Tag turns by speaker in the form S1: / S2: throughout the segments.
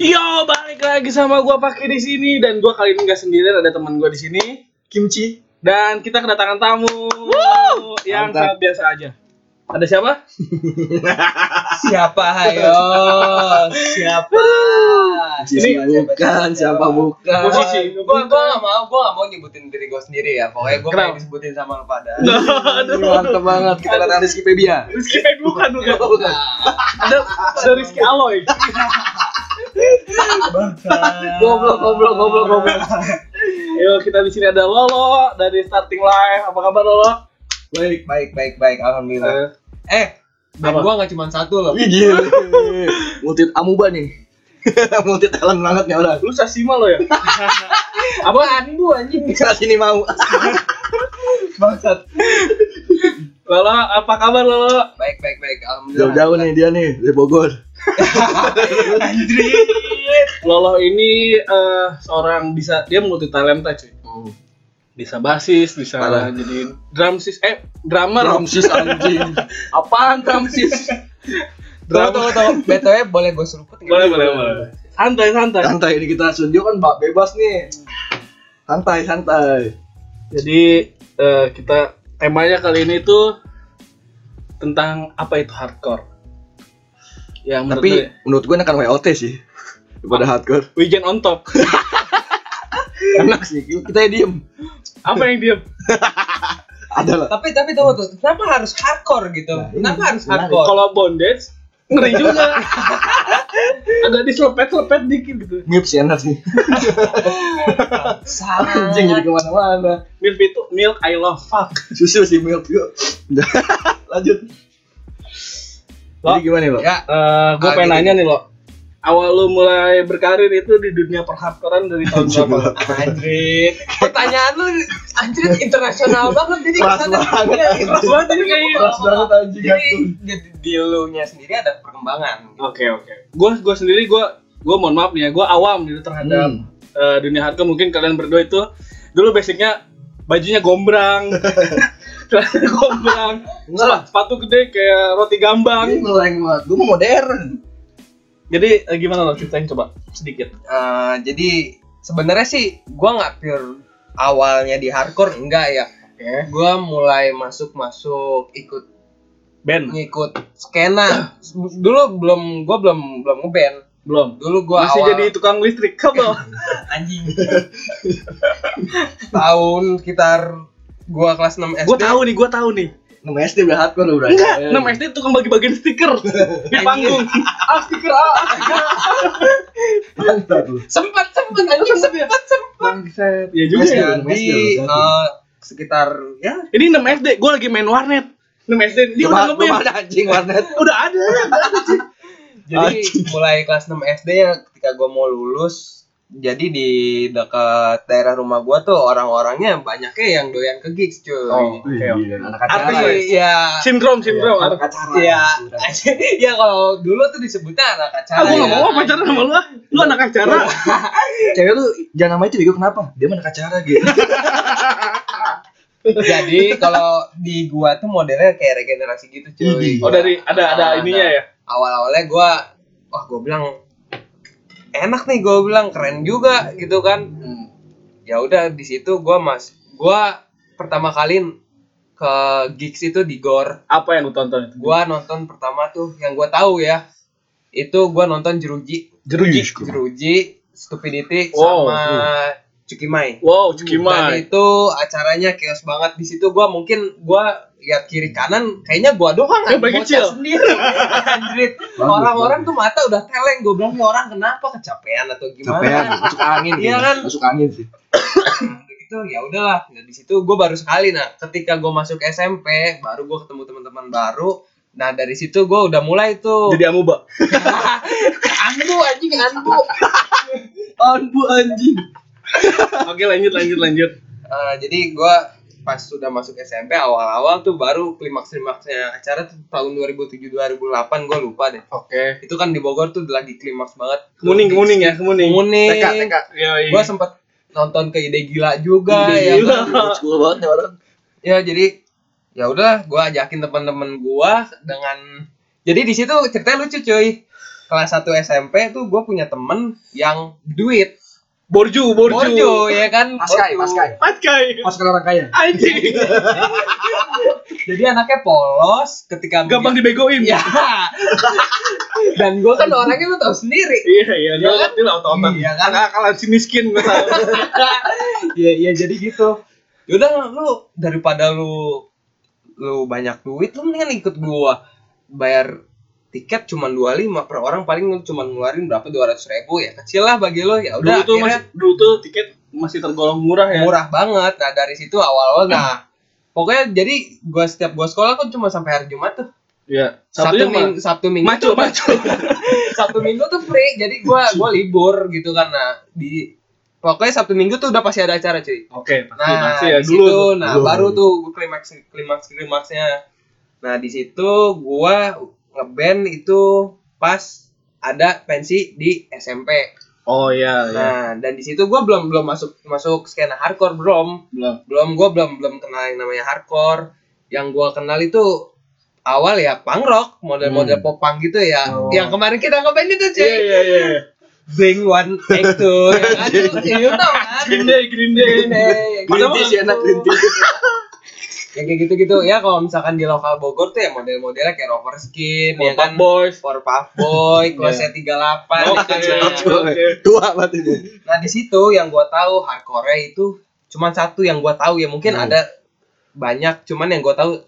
S1: Yo, balik lagi sama gua pakai di sini dan gua kali ini nggak sendirian ada teman gua di sini
S2: Kimchi.
S1: dan kita kedatangan tamu yang
S2: Mantap.
S1: sangat biasa aja. Ada siapa?
S3: Siapa hayo? Siapa?
S1: Ini-
S2: Siapa bukan, siapa bukan.
S1: Posisi.
S3: Gua gua gak mau, gua gak mau nyebutin diri gua sendiri ya. Pokoknya gua
S1: Kenapa?
S3: pengen disebutin sama lu pada.
S2: Nah. Aduh, mantep banget. Kita datang di Wikipedia.
S1: Rizky Pek bukan bukan.
S2: Iya, Bukan.
S1: Ada ada Rizky Aloy.
S2: Goblok, goblok, goblok, goblok.
S1: Yo, kita di sini ada Lolo dari Starting Live. Apa kabar Lolo?
S2: Baik.
S3: Baik, baik, baik. Alhamdulillah. Eh,
S1: Apa?
S3: dan gua gak cuma satu loh.
S2: Wih, gila. Mutit amuba nih. Mutit talent banget nih orang.
S1: Lu Sasima lo ya? Apa?
S3: Anbu anjing.
S2: Saat ini mau.
S3: Bangsat.
S1: Lolo, apa kabar Lolo?
S3: Baik, baik, baik. Alhamdulillah.
S2: Jauh-jauh nih dia nih dari Bogor.
S1: Lolo ini eh, seorang bisa dia multi talenta cuy.
S2: Oh.
S1: Bisa basis, bisa
S2: Parah.
S1: jadi drumsis eh drummer.
S2: Ramsis anjing.
S1: Apaan drumsis?
S3: Tunggu,
S1: Drum.
S3: tunggu, tunggu. BTW boleh gua seruput nggak?
S1: boleh, boleh, boleh. Santai, santai.
S2: Santai ini kita studio kan mbak bebas nih. Santai, santai.
S1: Jadi eh, kita temanya kali ini tuh tentang apa itu hardcore. Yang menurut ya.
S2: Tapi
S1: gue,
S2: menurut gue ini akan WOT sih. Daripada hardcore.
S1: Wijen on top.
S2: Enak sih. Kita diem.
S1: apa yang dia
S2: Ada lah.
S3: Tapi tapi tunggu tuh, kenapa harus hardcore gitu?
S2: Nah, ini
S3: Kenapa harus
S2: menarik.
S3: hardcore?
S1: kalau bondage ngeri juga. Agak diselepet-selepet dikit gitu.
S2: Ngip sih enak sih. Anjing jadi kemana-mana.
S1: Milk itu milk I love fuck.
S2: Susu sih milk yuk. Lanjut.
S1: Lo?
S2: Jadi gimana lo?
S3: Ya,
S1: Eh, gue
S3: Ah,
S1: pengen
S3: gitu.
S1: nanya nih lo. Awal lu mulai berkarir itu di dunia perhardcorean dari tahun
S2: Anjing,
S1: berapa?
S2: Lo.
S3: Anjrit. Pertanyaan lu anjrit internasional banget jadi
S2: Keras
S3: kesana-
S2: banget.
S3: Iya, keras banget jadi kayak
S2: Keras banget anjing
S3: Jadi
S2: aku.
S3: jadi di lu-nya sendiri ada perkembangan.
S1: Oke oke. Gue gue sendiri gue gue mohon maaf nih ya gue awam gitu terhadap
S2: Hmm.
S1: eh, dunia hardcore mungkin kalian berdua itu dulu basicnya bajunya gombrang, celananya gombrang,
S2: Enggak lah. Iya,
S1: sepatu gede kayak roti
S2: Ini
S1: gambang.
S2: meleng banget. Gue mau modern.
S1: Jadi eh, gimana lo ceritain coba sedikit.
S3: Eh, jadi sebenarnya sih gua nggak pure awalnya di hardcore enggak ya.
S1: Oke.
S3: Gua mulai masuk-masuk ikut
S1: Ben
S2: Iya.
S3: ngikut skena. Dulu belum gua belum belum ngeband.
S1: belum.
S3: Dulu gua
S1: Masih
S3: awal
S1: jadi tukang listrik kabel.
S3: anjing. Tahun sekitar gua kelas 6 SD.
S1: gue tahu nih gue tahu nih.
S2: 6 SD udah Iya, hardcore lu berarti.
S1: Enggak, 6 SD tukang bagi-bagiin stiker di panggung. Ah, stiker ah.
S2: Mantap lu.
S3: sempat sempat anjing sempat sempat
S1: Bangset. Ya juga
S2: Mas,
S1: ya.
S2: ya.
S3: jadi eh, sekitar ya
S1: Ini 6 SD, gue lagi main warnet. 6 SD, dia udah
S2: Lu
S1: ngeband.
S2: ada anjing warnet.
S1: Udah ada.
S3: jadi mulai kelas 6 SD ya ketika gue mau lulus jadi di dekat daerah rumah gue tuh orang-orangnya banyaknya yang doyan ke gigs cuy
S1: oke, oke.
S2: Iya, Anak
S1: Artis
S2: acara. Iya,
S1: ya.
S3: Tapi ya
S1: Sindrom, sindrom.
S2: Anak
S1: Aku
S2: acara. Iya.
S3: ya ya kalau dulu tuh disebutnya anak acara
S1: nggak
S3: ya.
S1: mau ah, pacaran sama lu ah. Lu anak acara.
S2: Cewek lu jangan nama itu bego kenapa? Dia mah anak acara gitu.
S3: jadi kalau di gua tuh modelnya kayak regenerasi gitu cuy Nah,
S2: Iya.
S1: Oh, dari ada ada ininya ya.
S3: awal-awalnya gua wah gua bilang enak nih gua bilang keren juga gitu kan
S2: Hmm.
S3: ya udah di situ gua mas gua pertama kali ke gigs itu di gor
S1: Apa yang lu tonton itu?
S3: gua nonton pertama tuh yang gua tahu ya itu gua nonton jeruji
S2: Jeruji.
S3: jeruji stupidity
S1: Wow.
S3: sama cukimai
S1: Wow,
S3: dan
S1: Cukimai.
S3: itu acaranya chaos banget di situ gua mungkin gua lihat kiri kanan kayaknya gua doang
S1: Ya, bagi
S3: bocah
S1: kecil.
S3: sendiri Anjrit. orang-orang tuh mata udah teleng gua bilang "Ini orang kenapa kecapean atau gimana
S2: Capean, masuk angin.
S3: Iya
S2: gitu.
S3: kan?
S2: Masuk angin sih.
S3: Udah gitu ya udahlah nah, di situ gue baru sekali nah ketika gue masuk SMP baru gue ketemu teman-teman baru nah dari situ gue udah mulai tuh
S1: Jadi amuba.
S3: anbu anjing anbu
S2: Anbu anjing.
S1: Oke, lanjut lanjut lanjut.
S3: Eh, jadi gue pas sudah masuk SMP awal-awal tuh baru klimaks-klimaksnya acara tuh tahun 2007-2008 gue lupa deh
S1: Oke.
S3: itu kan di Bogor tuh lagi klimaks banget
S1: Kemuning, kemuning ya, kemuning.
S3: muning
S2: TK, TK.
S1: Yoi.
S3: gue sempet nonton ke ide gila juga
S1: Ide
S3: ya
S1: Gila.
S3: kan?
S2: Old school banget nih orang.
S3: ya jadi ya udah gue ajakin teman-teman gue dengan jadi di situ ceritanya lucu cuy kelas 1 SMP tuh gue punya temen yang duit
S1: Borju, borju.
S3: borjo ya kan
S2: Paskai,
S3: Borju.
S2: paskai.
S1: Patkai.
S2: Paskai orang kaya.
S1: Anjing.
S3: jadi anaknya polos ketika
S1: Gampang dibegoin.
S3: ya dan gue kan orangnya lu tau sendiri
S1: Iya, iya. Dia
S3: Iya kan?
S1: ngerti lah otot-otot.
S3: Iya kan?
S1: Karena kalah si miskin gue tahu.
S3: Iya iya jadi gitu. Yaudah lu daripada lu lu banyak duit lu mendingan ikut gua bayar tiket cuma 25 per orang paling lu cuma ngeluarin berapa 200 ribu ya kecil lah bagi lu ya
S1: Dulu
S3: udah
S1: tuh
S3: akhirnya
S1: masih dulu tuh tiket masih tergolong murah ya.
S3: murah banget nah dari situ awal-awal nah pokoknya jadi gua setiap gua sekolah kan cuma sampai hari Jumat tuh
S1: Iya.
S3: Sabtu
S1: Satunya
S3: minggu Sabtu minggu
S1: maco,
S3: tuh-
S1: maco.
S3: Sabtu minggu tuh free jadi gua gua libur gitu karena di pokoknya Sabtu minggu tuh udah pasti ada acara cuy
S1: Oke, pasti
S3: Nah,
S1: pasti ya
S3: di
S1: dulu.
S3: situ,
S1: tuh.
S3: nah
S2: Dulu.
S3: baru tuh gua klimaks klimaks klimaksnya. Nah, di situ gua ngeband itu pas ada pensi di SMP.
S1: Oh iya, iya.
S3: Nah, dan di situ gua belum belum masuk masuk skena hardcore belum.
S1: Belum.
S3: Belum gua belum belum kenal yang namanya hardcore. Yang gua kenal itu awal ya punk rock, model-model
S1: Hmm.
S3: pop punk gitu ya.
S1: Oh.
S3: Yang kemarin kita ngeband itu, cuy.
S1: Iya, iya, iya.
S3: Blink One Two, ya kan? You know kan?
S1: Green Day, Green Day.
S3: Green
S2: Green
S3: Day.
S1: Padahal
S2: tea sih enak green tea.
S3: ya kayak gitu-gitu ya kalau misalkan di lokal Bogor tuh ya model-modelnya kayak Rover Skin ya
S1: Pop
S3: kan
S1: Boys. Iya.
S3: Powerpuff Boy kelasnya 38 ya kan?
S1: Oke, oke.
S2: Tua banget ini.
S3: nah di situ yang gua tahu hardcore itu cuman satu yang gua tahu ya mungkin
S2: Hmm.
S3: ada banyak cuman yang gua tahu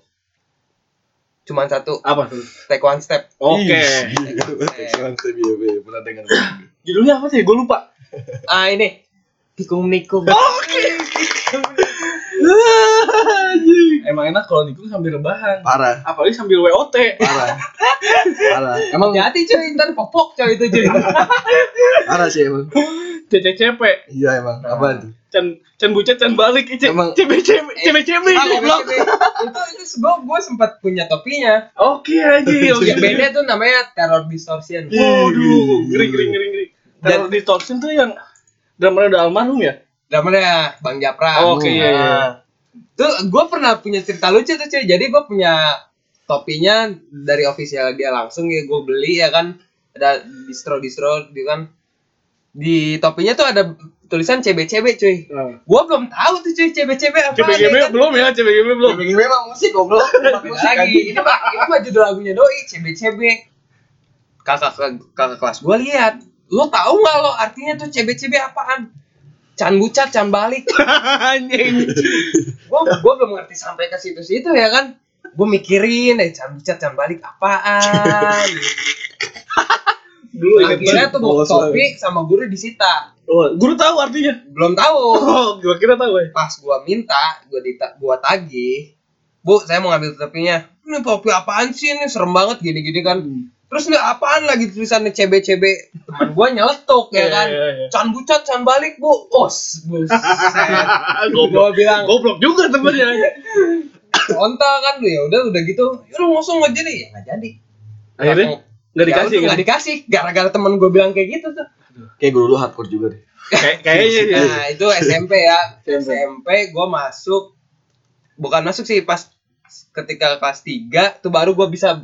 S3: cuman satu
S1: Apa tuh?
S3: take one step
S1: Oke.
S2: Iya, Pernah dengar.
S1: Judulnya apa sih? Gue lupa.
S3: ah ini tikung nikung
S1: Oh! Emang enak kalau nikung sambil rebahan.
S2: Parah,
S1: Apalagi sambil WOT.
S2: parah. Parah. Emang
S1: Ya.
S3: hati cuy ntar popok coy itu cuy
S2: parah sih emang.
S1: CCCP.
S2: Iya emang. Apa tuh?
S1: Can can bucet can balik. C-
S2: Emang-
S1: CBCB CBCB
S3: Ah,
S1: goblok.
S3: itu itu gua gua sempat punya topinya
S1: Oke anjing. oke.
S3: yang bandnya tuh namanya Terror Distortion
S1: Iya.
S3: iya,
S1: Waduh, ngeri ngeri ngeri ngeri. Teror distortion tuh yang drummer udah almarhum ya?
S3: Namanya Bang Japra.
S1: Oh, oke, iya, iya.
S3: Nah, Tuh gue pernah punya cerita lucu tuh cuy. Jadi gue punya topinya dari official dia langsung ya gue beli ya kan ada distro distro gitu kan di topinya tuh ada tulisan CBCB cuy. Gue belum tahu tuh cuy CBCB apa.
S1: CBGB belum ya, CBGB belum.
S2: Begini memang musik goblok. Emang musik
S3: lagi.
S2: anjing.
S3: Ini mah ini mah judul lagunya doi CBCB. Kakak kakak kelas gue lihat. Lo tahu nggak lo artinya tuh CBCB apaan? Can bucat, can balik.
S1: Anjing.
S3: gua gua belum ngerti sampai ke situ-situ ya kan gua mikirin eh can bucat can balik apaan
S1: Dulu inget
S3: akhirnya
S1: banget.
S3: tuh buku
S2: Polos
S3: topi sama guru disita
S1: Oh, guru tahu artinya.
S3: belum tahu
S1: Oh, gua kira tahu ya.
S3: pas gua minta gua dita gua tagih bu saya mau ngambil topinya ini topi apaan sih ini serem banget gini-gini kan
S1: Hmm.
S3: terus ini apaan lagi tulisannya CBCB teman gua nyeletuk ya
S1: Iya,
S3: kan
S1: iya, iya.
S3: can bucat can balik bu os buset
S1: Ah,
S3: gua
S1: goblok.
S3: bilang
S1: Goblok juga temennya.
S3: onta kan ya udah udah gitu ya lu langsung nggak jadi ya nggak jadi
S1: Akhirnya nggak dikasih
S3: Ya, nggak
S1: kan?
S3: dikasih gara-gara teman gue bilang kayak gitu tuh
S2: Kayak guru lu hardcore juga deh.
S1: Kayak- Kayaknya ya.
S3: nah itu SMP ya
S1: SMP.
S3: SMP gue masuk bukan masuk sih pas ketika kelas 3 tuh baru gue bisa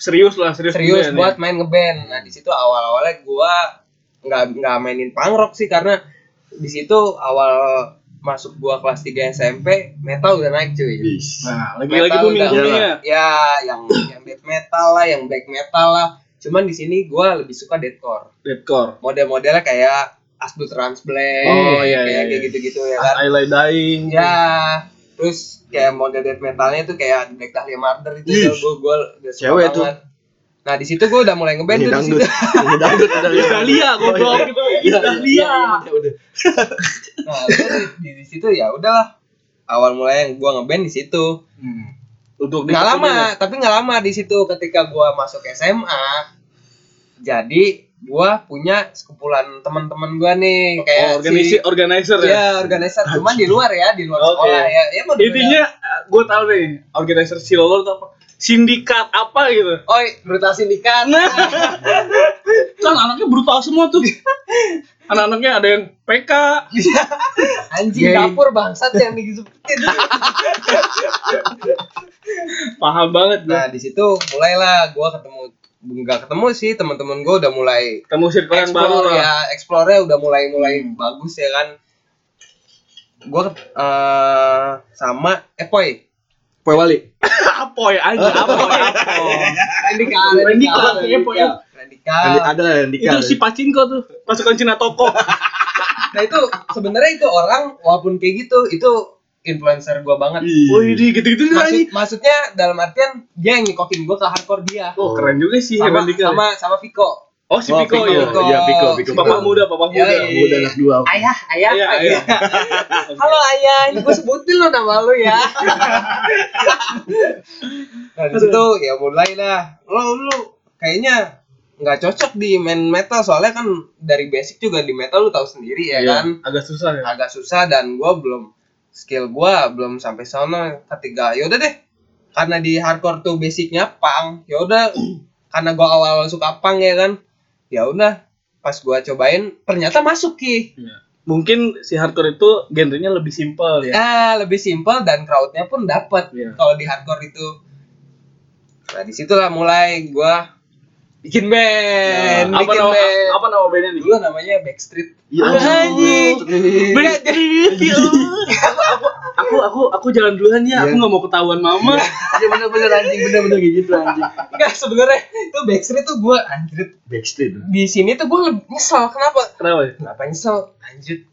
S1: Serius lah, serius.
S3: serius
S1: dulu ya,
S3: buat
S1: nih.
S3: main ngeband nah di situ awal-awalnya gue nggak nggak mainin punk rock sih karena di situ awal masuk gua kelas 3 SMP metal udah naik cuy
S2: Bis.
S1: Nah, lagi-lagi
S3: Metal
S1: booming
S3: udah-
S1: boomingnya.
S3: ya yang yang death metal lah yang black metal lah cuman di sini gua lebih suka deathcore
S1: Deadcore.
S3: model-modelnya kayak Asbel Transblend,
S1: Oh, iya,
S3: kayak
S1: iya,
S3: kayak
S1: iya.
S3: gitu-gitu ya kan.
S1: I Lie Dying.
S3: Ya, terus kayak model death metalnya tuh kayak Black Dahlia Murder itu
S2: Ih,
S3: gue gue gue udah suka
S2: cewek tuh.
S3: banget. Nah di situ gue udah mulai ngeband
S2: Ini
S3: tuh di
S2: dangdut.
S3: situ.
S2: Ini dangdut. Iya,
S1: Ya,
S3: Iya.
S1: Dahlia, goblok. Dahlia.
S2: Udah, iya, udah.
S3: Nah terus di, di situ ya udahlah awal mulai yang gue ngeband di situ.
S2: Hmm.
S1: Untuk di
S3: Nggak
S1: tokonya.
S3: lama, tapi nggak lama di situ ketika gue masuk SMA. Jadi gue punya sekumpulan teman-teman gue nih kayak
S1: Oh, organisi
S3: si-
S1: organizer ya.
S3: Ya, organizer cuman di luar ya, di luar
S1: Oke.
S3: sekolah ya. Ya mau di-
S1: Intinya gue tahu nih organizer si Lolo tuh apa? Sindikat apa gitu.
S3: Oi, brutal sindikat.
S1: Kan anaknya brutal semua tuh. Anak-anaknya ada yang PK, Nah,
S2: Yay.
S3: Anjing
S1: iya.
S3: dapur bangsat yang digebukin.
S1: paham banget gue.
S3: nah, di situ mulailah gua ketemu nggak ketemu sih teman-teman gue udah mulai
S1: Ketemu circle yang baru
S3: explore
S1: lah. Hmm.
S3: ya explore udah mulai mulai bagus ya kan gue sama eh, Epoy
S2: Poy Wali.
S1: Apoy aja, apoy, apoy.
S3: Rendika
S1: Rendika, Epoy ya.
S3: Rendika
S2: Andi- ada lah yang
S1: Itu si Pacinko tuh, pasukan Cina toko.
S3: nah itu sebenarnya itu orang walaupun kayak gitu itu influencer gue banget
S1: Wih, di gitu-gitu lah
S3: Maksud-
S1: Oh, ini.
S3: maksudnya dalam artian dia yang ngikokin gue ke hardcore dia
S1: Oh, keren juga sih
S3: sama
S1: Heaven Dika.
S3: sama sama Viko
S1: oh, si
S2: Oh,
S1: Piko
S2: Piko,
S1: ya.
S2: Piko. Iya, Viko, Viko.
S1: Bapak muda, bapak
S3: Oh, Iya,
S1: muda.
S3: iya.
S2: Muda anak dua.
S3: ayah ayah
S1: Iya,
S3: ayah.
S1: iya.
S3: Halo ayah, ini gue sebutin lo nama lo ya. nah di situ ya mulai lah. Lo lu kayaknya nggak cocok di main metal soalnya kan dari basic juga di metal lu tahu sendiri ya
S1: Iya,
S3: kan.
S1: Agak susah ya.
S3: Agak susah dan gue belum skill gue belum sampai sana. Ketiga yaudah deh karena di hardcore tuh basicnya pang yaudah karena gue awal-awal suka pang ya kan ya udah pas gue cobain ternyata masuk ki
S1: Iya. Mungkin si hardcore itu genrenya lebih simpel ya.
S3: Ah, lebih simpel dan crowdnya pun dapat
S1: Iya.
S3: kalau di hardcore itu. Nah disitulah mulai gua bikin band,
S1: Nah, Apa
S3: bikin
S1: nama
S3: band.
S1: apa nama bandnya nih?
S3: Dulu namanya Backstreet.
S2: Ya
S3: Anjing.
S1: Bener jadi dia.
S3: Ya
S1: aku, aku aku ya. aku aku jalan duluan ya. Aku
S2: Iya.
S1: nggak mau ketahuan mama.
S2: Ya bener-bener anjing, bener-bener kayak gitu anjing.
S3: Enggak sebenarnya itu Backstreet tuh gua anjir.
S2: Backstreet.
S3: Di sini tuh gua lebih nyesel kenapa?
S1: Kenapa? ya?
S3: Kenapa nyesel? Anjir.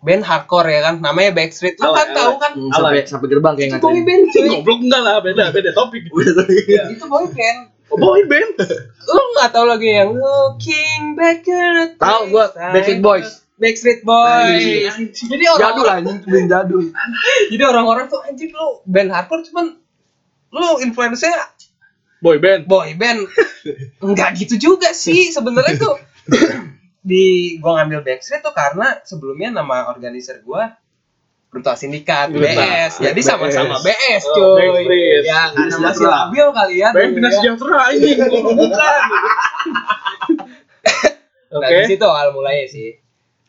S3: Band hardcore ya kan, namanya Backstreet. Lu
S1: Awal,
S3: kan tahu
S1: awal.
S3: kan?
S2: Hmm,
S1: Apa
S2: sampai
S1: ya?
S2: sampai gerbang kayak
S3: Itu boy
S2: nganterin.
S3: band cuy.
S1: Goblok enggak lah, beda beda topik.
S2: Udah tadi.
S3: Itu boy band.
S1: Oh, boy band.
S3: lu nggak tahu lagi yang looking back at the
S2: Tahu gua,
S3: time.
S2: Backstreet Boys. Nah, iya,
S3: Backstreet Boys jadi orang
S2: Jadul anjing, band jadul.
S3: jadi orang-orang tuh anjir lu band hardcore cuman lu influence-nya
S1: Boy band.
S3: boy band nggak gitu juga sih sebenarnya tuh di gua ngambil Backstreet tuh karena sebelumnya nama organizer gua Brutal Sindikat
S1: Brutal.
S3: BS jadi
S2: BS.
S3: sama-sama BS
S1: Oh,
S3: cuy
S1: Backstreet.
S3: ya karena
S2: Backstreet
S3: masih
S2: lah.
S3: labil kali ya
S1: Band
S3: dulu
S1: Bina
S3: ya.
S1: Sejahtera ini. Bukan.
S3: nah
S1: Oke.
S3: di situ awal mulanya sih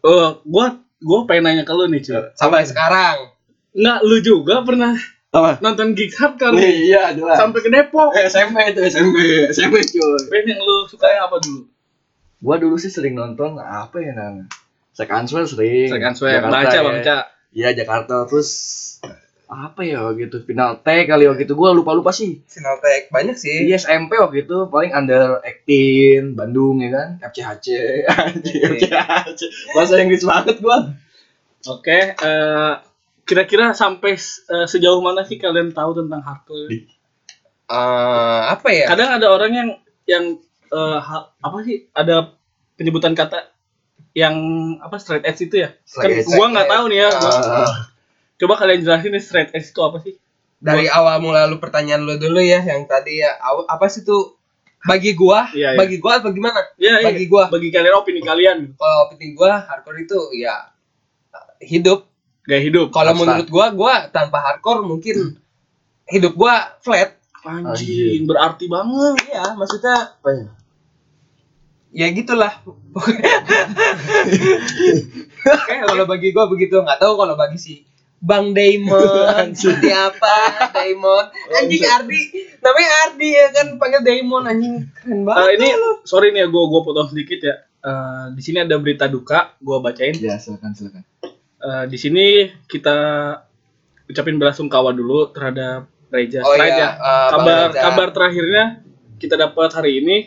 S1: Eh, gua gua pengen nanya ke lu nih, cuy.
S3: sampai sekarang
S1: Enggak lu juga pernah
S2: Apa?
S1: nonton gig hardcore
S2: Nih, iya Eh, jelas.
S1: sampai ke Depok.
S2: SMP itu SMP, SMP cuy.
S1: Band yang lu sukanya apa dulu?
S2: Gua dulu sih sering nonton apa ya nang? Sek Answer sering. Jakarta, ya. Iya Jakarta terus apa ya waktu itu final T kali waktu itu gua lupa lupa sih.
S3: Sinaltek banyak sih
S2: Iya SMP waktu itu paling under 18 Bandung ya kan FCHC anjing, FCHC bahasa Inggris banget gua
S1: Oke, eh, kira-kira sampai eh, sejauh mana sih kalian tahu tentang hardcore?
S3: Eh, apa ya?
S1: Kadang ada orang yang yang eh, ha- apa sih? Ada penyebutan kata yang apa straight edge itu ya? kan
S2: Straight edge.
S1: gua nggak tahu nih ya. gua-
S2: Ah,
S1: Coba kalian jelasin nih straight edge itu apa sih?
S3: Dari awal mula lu pertanyaan lu dulu ya yang tadi ya aw- apa sih tuh bagi gua?
S1: Iya, iya.
S3: Bagi gua apa gimana?
S1: Ya, iya.
S3: Bagi gua.
S1: bagi kalian opini kalian
S3: Kalau penting gua hardcore itu ya eh, hidup.
S1: gaya hidup.
S3: Kalau
S2: Lifestyle.
S3: menurut gua gua tanpa hardcore
S1: Hmm.
S3: mungkin hidup gua flat.
S1: Anjing, berarti banget.
S3: Iya, maksudnya
S2: apa ya?
S3: ya gitulah. kalau bagi gua begitu nggak tahu kalau bagi si Bang Damon seperti apa Damon
S1: Oh,
S3: anjing Ardi namanya Ardi ya kan panggil Damon anjing
S1: Eh,
S3: keren banget
S1: ini sorry nih ya gue gue potong sedikit ya. Eh, di sini ada berita duka, gue bacain.
S2: Ya silakan silakan.
S1: Eh, di sini kita ucapin belasungkawa dulu terhadap Reja.
S3: Oh
S1: Straight ya.
S3: iya, eh, Bang
S1: kabar
S3: Reja.
S1: kabar terakhirnya kita dapat hari ini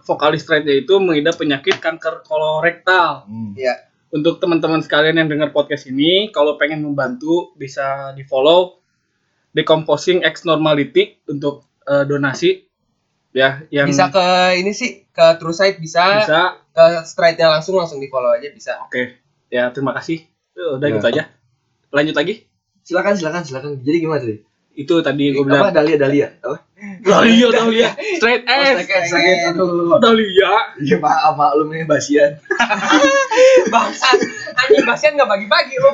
S1: vokalis Reja itu mengidap penyakit kanker kolorektal.
S2: Hmm.
S3: ya
S1: Untuk teman-teman sekalian yang dengar podcast ini, kalau pengen membantu bisa di follow Decomposing X Normality untuk eh, donasi ya yang
S3: bisa ke ini sih ke True Side bisa,
S1: bisa
S3: ke stride-nya langsung langsung di follow aja bisa
S1: Oke, ya terima kasih. Eh, Udah
S2: Ya.
S1: gitu aja. Lanjut lagi.
S2: Silakan silakan silakan. Jadi gimana tadi?
S1: Itu tadi gue
S2: Apa
S1: bilang.
S2: Dalia Dalia? Apa?
S1: Dahlia, Dahlia, straight S.
S2: Sakit sakit.
S3: gitu.
S2: Aduh.
S1: Dahlia.
S2: Iya maaf maklum nih Basian.
S3: bangsa anjing Basian nggak bagi-bagi lu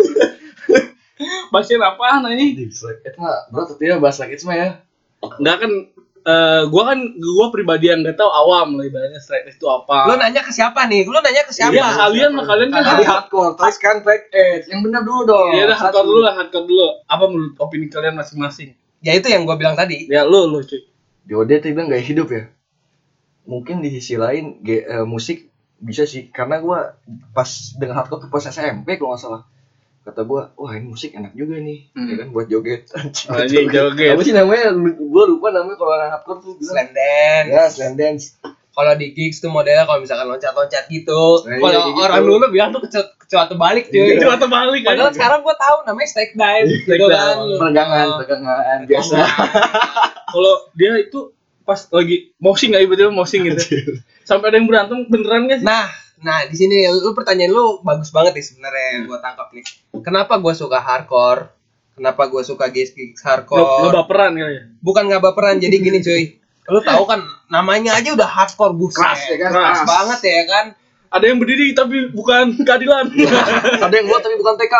S1: Bahasin apaan ini?
S2: Itu mah bro tentunya bahas sakit semua ya.
S1: Enggak kan eh gua kan gua pribadi yang gak tahu awam lah ibaratnya straight S itu
S3: lu
S1: apa.
S3: nanya ke siapa nih lu nanya ke siapa
S1: Iya, kalian mah kalian kan
S2: Tadi hardcore, terus kan track edge. Yang benar dulu dong.
S1: Iya udah
S2: Satu.
S1: hardcore dulu lah, hardcore dulu. Apa menurut opini kalian masing-masing?
S3: ya itu yang gua bilang tadi
S1: Ya lu lu cuy.
S2: Di OD tuh bilang gaya hidup ya. mungkin di sisi lain ge- eh, musik bisa sih karena gua pas dengan hardcore tuh pas SMP kalau nggak salah kata gua wah ini musik enak juga nih
S1: Hmm.
S2: ya kan buat joget anjing
S1: Oh, ini joget.
S2: apa sih namanya Lu- gua lupa namanya kalau orang hardcore tuh bilang
S3: Slam dance.
S2: ya slam dance
S3: Kalau di gigs tuh modelnya kalau misalkan loncat-loncat gitu.
S2: Nah, iya,
S3: kalau
S2: kayak gitu.
S3: orang dulu bilang tuh kecoa kecoa terbalik cuy.
S1: Itu atau balik kan?
S3: Padahal sekarang gua tahu namanya stake dive
S1: Stake
S3: gitu kan.
S1: dive.
S2: peregangan peregangan Oh. biasa
S3: Oh.
S1: Kalau dia itu pas lagi moshing nggak tiba-tiba moshing gitu. Sampai ada yang berantem beneran nggak sih?
S3: Nah, nah di sini lu pertanyaan lu bagus banget nih sebenarnya yang gua tangkap nih. Kenapa gua suka hardcore? Kenapa gua suka gigs gigs
S1: Lo, lo
S3: hardcore?
S1: baperan kali ya?
S3: Bukan nggak baperan. Jadi gini cuy. Lu tahu kan namanya aja udah hardcore buset.
S2: Keras, ya kan?
S3: Keras
S2: Keras.
S3: banget ya kan.
S1: Ada yang berdiri tapi bukan keadilan.
S2: ada yang buat tapi bukan TK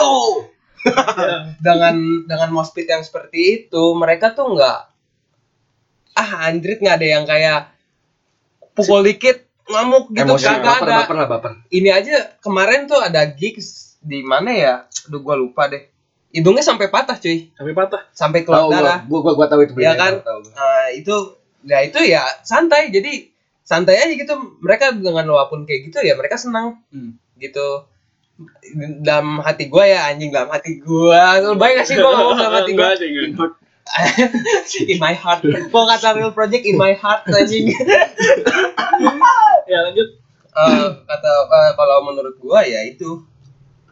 S2: yo
S3: dengan dengan mospit yang seperti itu mereka tuh nggak ah anjrit nggak ada yang kayak pukul dikit ngamuk gitu
S2: emosi
S3: kagak
S2: baper
S3: ada
S2: baper lah baper
S3: ini aja kemarin tuh ada gigs di mana ya aduh gua lupa deh hidungnya sampai patah cuy
S1: Sampai patah.
S3: sampai
S2: tahu
S3: keluar
S2: gua
S3: darah
S2: gua gua, gua tahu itu
S3: ya
S2: beritanya,
S3: kan
S2: gua Iya, tahu.
S3: Nah, itu ya itu ya santai jadi santai aja gitu mereka dengan walaupun kayak gitu ya mereka senang gitu dalam hati gua ya anjing dalam hati gua lu bayang gak sih gua ngomong dalam hati gua
S1: Nggak ada yang ngerti.
S3: in my heart gua kata real project in my heart anjing
S1: Ya lanjut.
S3: Eh, kata eh, kalau menurut gua ya itu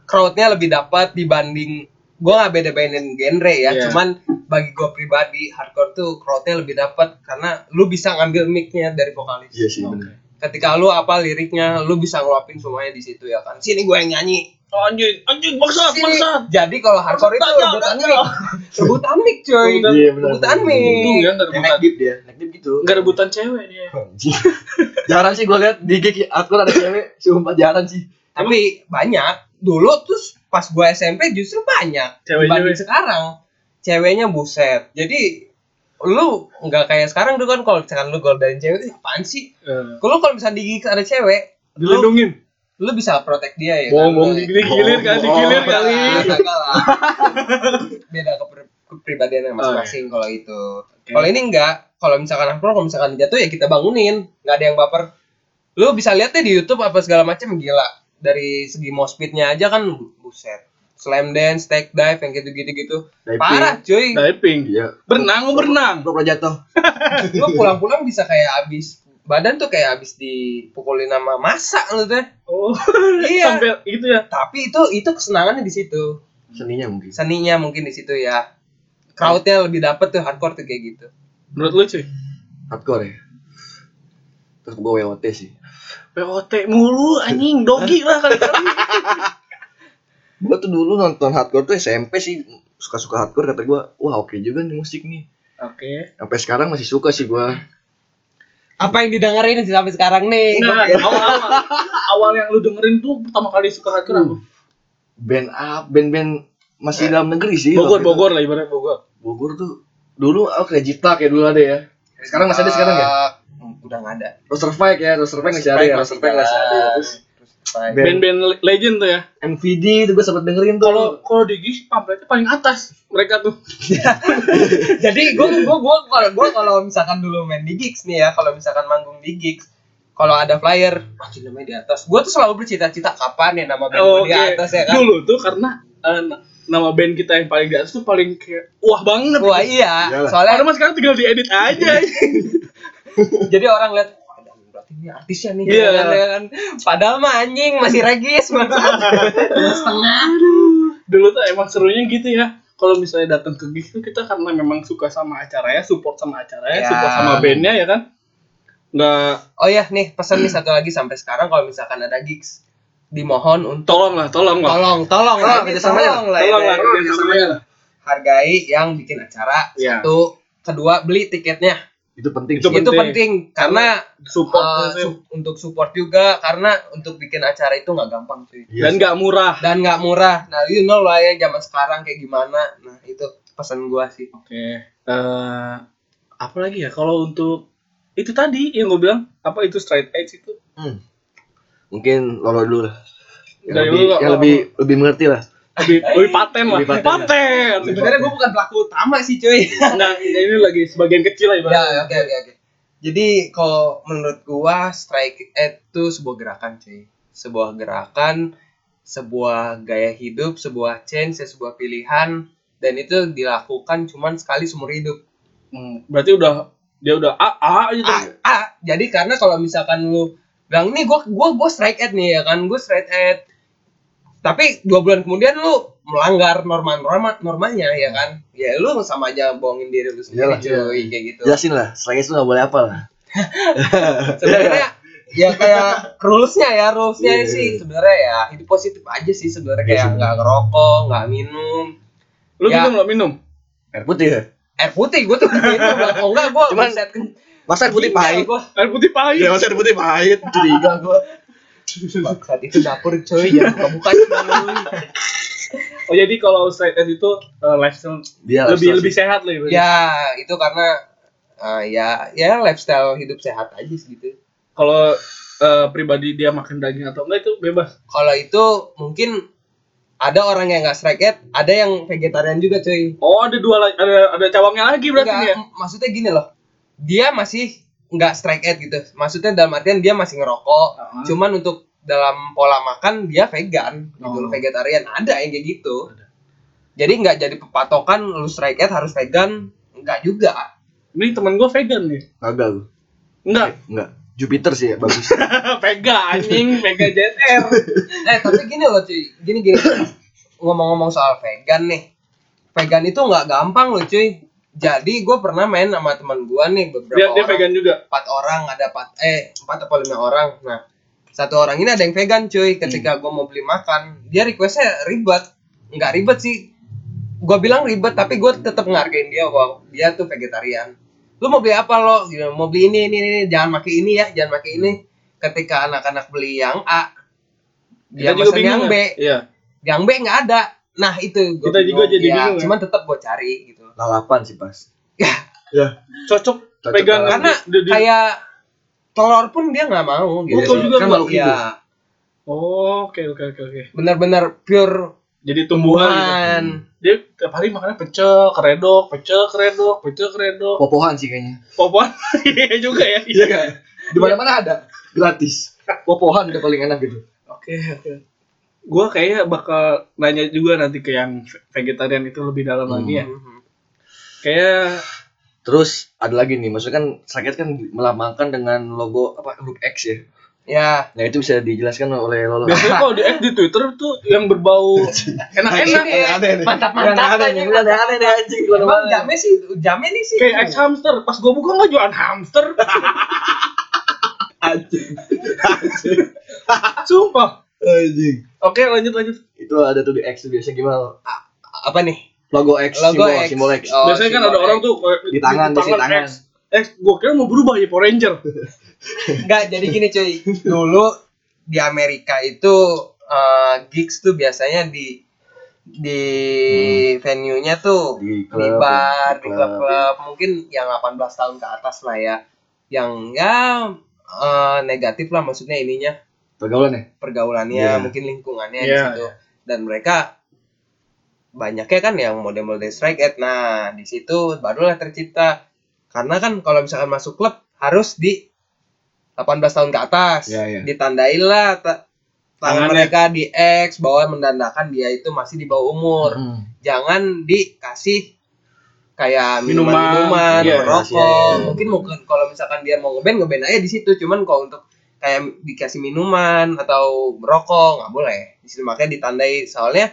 S3: crowdnya lebih dapat dibanding gua nggak beda bedain genre ya
S1: Iya.
S3: cuman bagi gua pribadi hardcore tuh crowdnya lebih dapat karena lu bisa ngambil mic-nya dari vokalis
S2: iya sih
S1: Oke.
S2: bener
S3: ketika lu apa liriknya lu bisa ngeluapin semuanya di situ ya kan sini gua yang nyanyi
S1: Oh, anjing, anjing bangsat,
S3: Sini.
S1: bangsat.
S3: Jadi kalau hardcore itu
S1: Bangsat,
S3: rebutan
S1: bangsat.
S3: mic. Rebutan mic cuy.
S1: Rebutan-
S2: Iya, benar,
S3: Rebutan
S2: benar,
S1: Untung
S2: benar.
S3: mic.
S1: ya nggak
S2: Ya,
S1: rebutan.
S2: naik dip
S3: Iya,
S2: dia naik dip gitu
S1: Nggak rebutan cewek dia.
S2: Anjing. jarang sih gua lihat di gig aku ada cewek sumpah jarang sih
S3: Tapi banyak. Dulu terus pas gua SMP justru banyak.
S1: Cewek-cewek.
S3: Dibanding sekarang ceweknya buset. Jadi lu nggak kayak sekarang tuh kan kalau misalkan lu golden cewek itu apaan sih?
S1: Eh,
S3: Kalau kalau misalnya di gigs ada cewek, lu,
S1: Dilindungin.
S3: lu bisa protek dia ya.
S1: Bohong,
S3: kan?
S1: bohong,
S3: Lu-
S1: digilir kan, digilir
S2: Bohong.
S1: kali.
S3: Ah, kagak lah. Beda keper- kepribadiannya masing-masing kalau itu. Kalau ini enggak, kalau misalkan nongkrong, kalau misalkan jatuh ya kita bangunin, nggak ada yang baper. Lu bisa lihat deh di YouTube apa segala macam gila. Dari segi mospitnya aja kan buset. Slam dance, tag dive yang gitu-gitu gitu.
S2: Diving.
S3: Parah cuy.
S1: Diving.
S2: iya
S1: Berenang, lu berenang.
S2: gua pernah jatuh
S3: Lu pulang-pulang bisa kayak abis badan tuh kayak abis dipukulin sama masa lu tuh.
S1: Oh,
S3: Iya.
S1: sampai itu ya.
S3: Tapi itu itu kesenangannya di situ.
S2: seninya mungkin
S3: seninya mungkin di situ ya crowdnya lebih dapet tuh hardcore tuh kayak gitu
S1: Menurut lu cuy?
S2: hardcore ya terus gua WOT sih
S1: POT mulu anjing dogi lah kali-kali.
S2: gua tuh dulu nonton hardcore tuh SMP sih suka-suka hardcore kata gua wah oke juga nih musik nih
S1: Oke.
S2: sampai sekarang masih suka sih gua
S3: apa yang didengerin sih sampai sekarang nih
S1: Nah, awal-awal awal yang lu dengerin tuh pertama kali suka hardcore apa?
S2: band up band-band masih dalam negeri sih
S1: Bogor,
S2: waktu itu.
S1: Bogor lah ibaratnya Bogor.
S2: Bogor tuh dulu oh Crazy Plug ya dulu ada ya sekarang masih ada sekarang ya
S3: udah nggak ada
S2: Roster Fight ya Roster Fight masih ada ya Roster Fight masih ada ya terus
S3: Terus
S2: band,
S1: Band-band le- legend tuh ya.
S2: MVD itu gue sempet dengerin tuh
S1: Kalau kalau di Gigs pamretnya paling atas mereka tuh.
S3: jadi gue gue gue kalau gue kalau misalkan dulu main di gigs nih ya kalau misalkan manggung di gigs kalau ada flyer anjing namanya di atas gue tuh selalu bercita-cita kapan ya nama band
S1: Oh,
S3: gue di
S1: oke.
S3: atas ya kan
S1: Dulu tuh karena eh, na- nama band kita yang paling di atas tuh paling kayak wah banget.
S3: wah iya
S2: Iyalah.
S3: soalnya Iya.
S1: Padahal mas sekarang tinggal diedit aja.
S3: jadi orang lihat "Wah, dan berarti ini artisnya nih
S1: Iya.
S3: kan, ya kan? padahal mah anjing masih regis masa setengah
S1: Dulu tuh emang serunya gitu ya. Kalau misalnya datang ke gigs tuh kita karena memang suka sama acaranya, support sama acaranya,
S3: Ya.
S1: support sama bandnya ya kan. Nggak
S3: oh ya nih pesan
S1: Hmm.
S3: nih satu lagi sampai sekarang kalau misalkan ada gigs dimohon untuk
S1: tolong lah, tolong lah.
S3: tolong
S2: Tolong,
S3: tolong lah
S2: kerjasama ya.
S3: tolong lah ya.
S1: Tolong lah kerjasamanya lah.
S3: hargai yang bikin acara
S1: Iya.
S3: satu kedua beli tiketnya
S2: itu penting
S1: Itu
S2: sih.
S3: itu
S1: penting.
S3: penting karena
S1: Support
S3: eh,
S1: gitu.
S3: su- untuk support juga karena untuk bikin acara itu nggak gampang cuy
S2: Iya
S1: dan
S2: sih.
S1: nggak murah.
S3: dan nggak murah nah you know lah ya zaman sekarang kayak gimana nah itu pesan gua sih
S1: Oke. eh, apa lagi ya kalau untuk itu tadi yang gue bilang apa itu straight edge itu
S2: Hmm. mungkin lolo dulu lah yang
S1: Dari
S2: lebih
S1: lu, Lolo.
S2: yang lebih lebih mengerti lah
S1: lebih lebih paten lah.
S3: ya.
S2: Lebih paten.
S1: paten.
S3: sebenarnya gue bukan pelaku utama sih cuy
S1: Nah ini lagi sebagian kecil lah
S3: ya
S1: ibaratnya.
S3: oke oke oke Jadi kalau menurut gua strike eh, itu sebuah gerakan cuy. Sebuah gerakan, sebuah gaya hidup, sebuah change, ya, sebuah pilihan dan itu dilakukan cuman sekali seumur hidup.
S1: Hmm, berarti udah dia udah A A aja
S3: Ah,
S1: terus.
S3: ah, jadi karena kalau misalkan lu bilang nih gua gua gua strike at nih ya kan, gua strike at tapi dua bulan kemudian lu melanggar norma norma normanya ya kan ya lu sama aja bohongin diri lu sendiri
S2: Iyalah,
S3: cuy
S2: iya.
S3: kayak gitu
S2: Jelasin lah, selain itu nggak boleh apa lah.
S3: sebenarnya ya kayak rulesnya ya rulesnya
S2: Iya,
S3: sih
S2: iya.
S3: sebenarnya ya hidup positif aja sih sebenarnya
S2: Iya
S3: kayak
S2: sih.
S3: nggak ngerokok nggak minum
S1: Lu
S3: Ya.
S1: minum lo minum.
S2: Air putih ya?
S3: air putih gue tuh minum oh enggak gue
S2: Cuman Masa air putih
S3: Iya,
S2: pahit?
S3: gue
S1: Air putih pahit.
S3: Ya.
S2: Iya, masa air putih pahit. Curiga gua.
S3: saat itu dapur cuy ya buka buka
S1: Oh jadi kalau straight edge itu eh, lifestyle
S2: Dia
S1: lebih
S2: lifestyle
S1: lebih sehat lah ibaratnya.
S3: ya itu karena eh, ya ya lifestyle hidup sehat aja sih gitu
S1: Kalau eh, pribadi dia makan daging atau enggak itu bebas.
S3: kalau itu mungkin ada orang yang nggak strike at, ada yang vegetarian juga cuy.
S1: Oh ada dua la- ada ada cabangnya lagi berarti ya?
S3: Nggak,
S1: dia.
S3: m- maksudnya gini loh, dia masih nggak strike at gitu. Maksudnya dalam artian dia masih ngerokok,
S1: Heeh.
S3: cuman untuk dalam pola makan dia vegan, gitu
S1: Oh.
S3: loh, vegetarian. Ada yang kayak gitu. Jadi nggak jadi patokan lu strike at harus vegan, nggak juga.
S1: Ini temen gue vegan nih.
S2: Kagak gua.
S1: Enggak,
S2: Enggak. Jupiter sih ya, bagus.
S1: Vega anjing, Vega JTR.
S3: Eh tapi gini loh cuy, gini gini. Ngomong-ngomong soal vegan nih, vegan itu nggak gampang loh cuy. Jadi gue pernah main sama teman gue nih beberapa
S1: dia dia
S3: orang.
S1: vegan juga.
S3: empat orang ada empat eh empat atau lima orang nah satu orang ini ada yang vegan cuy
S1: Hmm.
S3: ketika gua mau beli makan dia requestnya ribet nggak ribet sih Gua bilang ribet tapi gue tetap ngargain dia wow dia tuh vegetarian lu mau beli apa lo Gitu, mau beli ini ini ini jangan pakai ini ya jangan pakai ini ketika anak-anak beli yang A dia
S1: Kita juga
S3: pesen yang
S1: bingung.
S3: B
S1: ya? Iya.
S3: yang B nggak ada nah itu gua
S1: Kita juga
S3: bingung.
S1: jadi
S3: Iya,
S1: bingung ya.
S3: cuman tetap gue cari gitu
S2: Lalapan sih pas.
S3: ya
S2: Ya.
S1: Cocok
S2: Cocok
S1: vegan
S2: banget.
S1: karena
S3: karena kayak telur pun dia nggak mau gitu
S1: Betul juga,
S2: Kan
S1: Bang.
S2: makhluk hidup.
S3: ya
S1: Oh, oke oke oke oke.
S3: benar-benar pure
S1: Jadi tumbuhan gitu.
S3: man
S1: Dia tiap hari makannya pecel, keredok, pecel, keredok, pecel, keredok.
S2: Popohan sih kayaknya.
S1: Popon iya juga ya.
S2: Oh. Iya kan? Di mana-mana ada. Gratis. Popohan udah paling enak gitu.
S1: Oke oke. Gua kayaknya bakal nanya juga nanti ke yang ve- vegetarian itu lebih dalam lagi ya.
S2: Hmm.
S1: Kayak
S2: Terus ada lagi nih, maksudnya kan sakit kan melambangkan dengan logo apa huruf X ya.
S3: ya
S2: Nah itu bisa dijelaskan oleh Lolo.
S1: biasanya kalau di di Twitter tuh yang berbau
S2: Iya,
S1: enak-enak.
S3: mantap mantap
S2: Aneh-aneh nih, aneh-aneh nih anjing.
S3: Emang jamnya sih jamnya nih sih
S1: Kayak X hamster, pas gua buka nggak jualan hamster.
S2: Anjing.
S1: Sumpah.
S2: Anjing.
S1: Oke lanjut lanjut.
S2: Itu ada tuh di X tuh biasanya gimana?
S3: apa nih
S2: Logo X,
S3: Logo
S2: simbol,
S3: X.
S2: simbol X.
S3: Oh,
S1: Biasanya kan ada
S3: simbol
S1: orang
S3: X.
S1: tuh kayak
S2: Di tangan, di tangan.
S1: X. X, gua kira mau berubah jadi Power Ranger.
S3: nggak jadi gini cuy dulu di Amerika itu eh, gigs tuh biasanya di di venue-nya tuh
S2: Di
S3: di,
S2: klub,
S3: bar,
S2: di
S3: di
S2: klub.
S3: klub-klub, mungkin yang 18 tahun ke atas lah ya. Yang ya eh, negatif lah maksudnya ininya
S2: Pergaulan ya?
S3: pergaulannya,
S2: Iya.
S3: mungkin lingkungannya
S1: Iya,
S3: di situ. Dan mereka banyaknya kan yang model-model strike at. Nah, di situ barulah tercipta. Karena kan kalau misalkan masuk klub harus di 18 tahun ke atas.
S2: Iya, iya.
S3: Ditandai lah ta- tangan
S1: Tangannya.
S3: mereka di X bahwa menandakan dia itu masih di bawah umur.
S2: Hmm.
S3: Jangan dikasih kayak
S1: Minuman,
S3: minuman-minuman,
S1: iya,
S3: rokok.
S2: iya, iya.
S3: Mungkin mungkin kalau misalkan dia mau ngeband ngeband aja di situ. Cuman kalau untuk kayak dikasih minuman atau rokok nggak boleh di situ makanya ditandai soalnya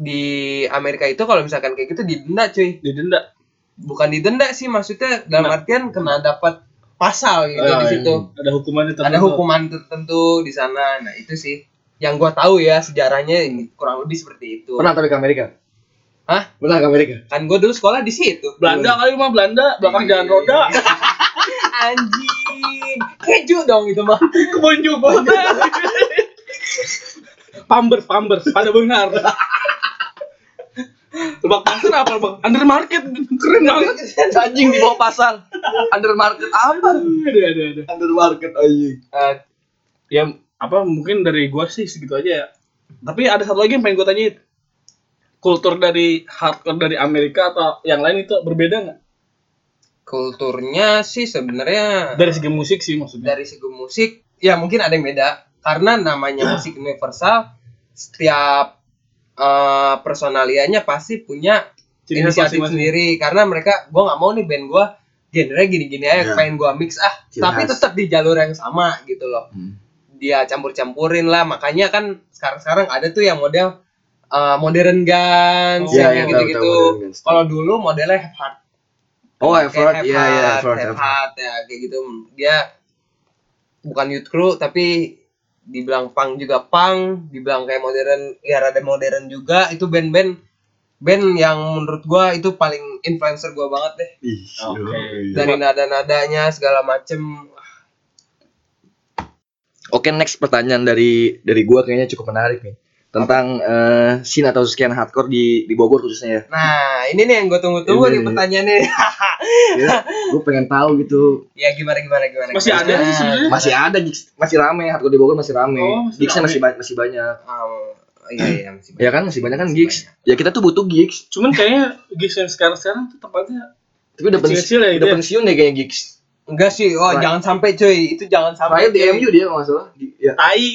S3: di Amerika itu kalau misalkan kayak gitu didenda cuy
S1: Didenda.
S3: bukan didenda sih maksudnya dalam
S1: Nah.
S3: artian kena dapat pasal gitu
S1: Ah,
S3: di
S1: iya.
S3: situ
S1: Ada hukumannya
S3: ada
S1: tertentu.
S3: hukuman tertentu di sana nah itu sih yang gua tahu ya sejarahnya kurang lebih seperti itu
S2: Pernah tapi ke Amerika?
S3: Hah?
S2: Pernah ke Amerika?
S3: kan gua dulu sekolah di situ
S1: Belanda kali mah Belanda, belakang
S3: Iya,
S1: jalan roda.
S3: anjing keju dong itu mah
S1: Kebun juga. Pamber, pamber, pada benar. Lebak pasar apa lebak? Undermarket keren banget.
S2: Anjing di bawah pasar. Undermarket apa?
S1: Ada ada ada.
S2: Undermarket anjing.
S3: Eh,
S1: Ya apa mungkin dari gua sih segitu aja ya. Tapi ada satu lagi yang pengen gua tanyain. Kultur dari hardcore dari Amerika atau yang lain itu berbeda nggak?
S3: kulturnya sih sebenarnya
S1: Dari segi musik sih maksudnya.
S3: dari segi musik ya mungkin ada yang beda karena namanya musik universal setiap eh, personalianya pasti punya
S1: Ciri khas
S3: inisiatif
S1: masing-masing.
S3: sendiri karena mereka gue nggak mau nih band gue genre gini-gini aja
S1: Iya.
S2: Ya.
S3: pengen gue mix ah
S2: Ciri
S3: tapi
S2: khas.
S3: tetap di jalur yang sama gitu loh
S2: Hmm.
S3: dia campur-campurin lah makanya kan sekarang-sekarang ada tuh yang model eh, modern guns
S1: Oh,
S2: Iya,
S1: Iya,
S2: iya,
S3: yang
S2: tahu,
S3: gitu-gitu
S2: tahu.
S3: kalau dulu modelnya have heart
S2: Oh, effort,
S3: Kayak
S2: iya,
S3: have
S2: iya,
S3: heart,
S2: effort,
S3: have
S2: effort.
S3: heart, ya kayak gitu dia bukan youth crew tapi dibilang punk juga punk dibilang kayak modern ya rada modern juga itu band-band band yang menurut gua itu paling influencer gua banget deh
S2: Ih,
S1: Oke.
S2: yoi.
S3: dari nada-nadanya segala macem
S2: Oke, next pertanyaan dari dari gua kayaknya cukup menarik nih. Tentang eh scene atau sekian hardcore di di Bogor khususnya ya.
S3: nah ini nih yang gua tunggu-tunggu
S2: Ini.
S3: nih pertanyaannya
S2: Kira- ya. gua pengen tahu gitu.
S3: ya gimana gimana gimana
S1: Masih
S3: gimana?
S1: ada sih sebenarnya.
S2: Masih ada gigs- masih rame hardcore di Bogor masih rame.
S1: Oh, masih
S2: gigsnya
S1: rame.
S2: masih ba- masih banyak.
S3: Um, iya iya masih
S2: Ya kan masih banyak kan
S3: Masih
S2: gigs. Ya kita tuh butuh gigs.
S1: Cuman kayaknya gigs yang sekarang-sekarang tuh tempatnya
S2: Tapi udah pensiun,
S1: Kecil-kecil ya,
S2: udah
S1: dia.
S2: pensiun deh kayak gigs.
S3: Enggak sih, oh
S2: Right.
S3: jangan sampai cuy, itu jangan
S2: Terakhir
S3: sampai.
S2: di
S3: cuy.
S2: MU dia kalau nggak salah. Di- Ya.
S1: tai.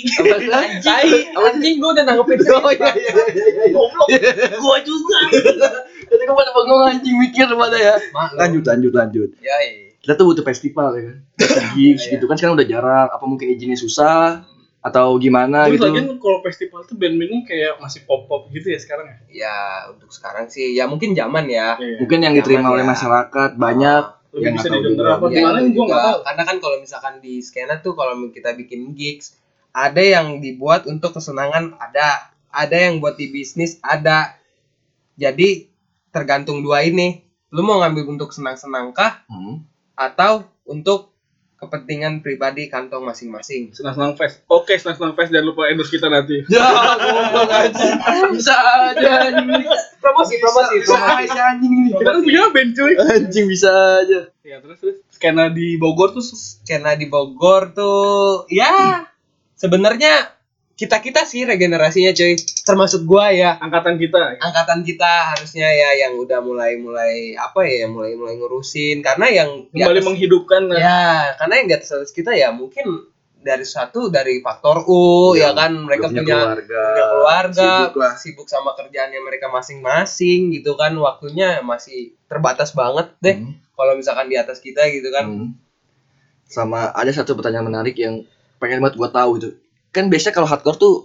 S3: Tai, anjing gue udah nanggepin
S2: Oh iya iya iya iya, iya.
S1: Goblok. Gua juga.
S2: Nah, Jadi gue pada bengong anjing mikir pada ya.
S3: Lanjut.
S2: Lanjut lanjut lanjut.
S3: Ya,
S2: Kita tuh butuh festival ya kan.
S1: Iya,
S2: Gigs gitu kan sekarang udah jarang. Apa mungkin izinnya susah atau gimana
S1: Terus
S2: gitu.
S1: lagi kan kalau festival tuh band-bandnya kayak masih pop-pop gitu ya sekarang ya.
S3: ya untuk sekarang sih ya mungkin zaman ya.
S1: Iya.
S2: Mungkin yang diterima
S3: Nyaman ya.
S2: oleh masyarakat banyak
S1: Lebih
S2: yang
S1: bisa
S2: nggak tahu
S1: didengar
S2: juga.
S1: apa
S2: Iya,
S1: gimana
S3: itu
S1: gua nggak
S3: Ya, juga.
S1: tahu.
S3: Karena kan kalau misalkan di skena tuh kalau kita bikin gigs ada yang dibuat untuk kesenangan ada, ada yang buat di bisnis ada. Jadi tergantung dua ini. Lu mau ngambil untuk senang-senang kah
S2: Hmm.
S3: atau untuk kepentingan pribadi kantong masing-masing?
S1: Senang-senang fest. Oke, senang-senang fest jangan lupa endorse kita nanti.
S2: Ya, goblok anjing. Bisa aja anjing.
S3: Promosi, promosi,
S2: Bisa aja anjing ini.
S1: Kita tuh punya band cuy.
S2: Anjing bisa aja.
S1: Ya terus terus skena di Bogor tuh s-
S3: Karena di Bogor tuh ya sebenarnya kita kita sih regenerasinya cuy termasuk gua ya
S1: angkatan kita.
S3: angkatan kita harusnya ya yang udah mulai mulai apa ya mulai mulai ngurusin karena yang di
S1: Kembali
S3: atas-
S1: menghidupkan
S2: Nah.
S1: eh,
S3: ya karena yang di atas atas kita ya mungkin dari satu dari faktor U
S2: Ya,
S3: ya, kan mereka
S2: Udah
S3: punya,
S2: keluarga.
S3: punya keluarga
S2: Sibuk lah.
S3: sibuk sama kerjaannya mereka masing-masing gitu kan waktunya masih terbatas banget deh
S2: Hmm.
S3: kalau misalkan di atas kita gitu kan
S2: Hmm. Sama ada satu pertanyaan menarik yang pengen banget gua tahu itu. Kan biasanya kalau hardcore tuh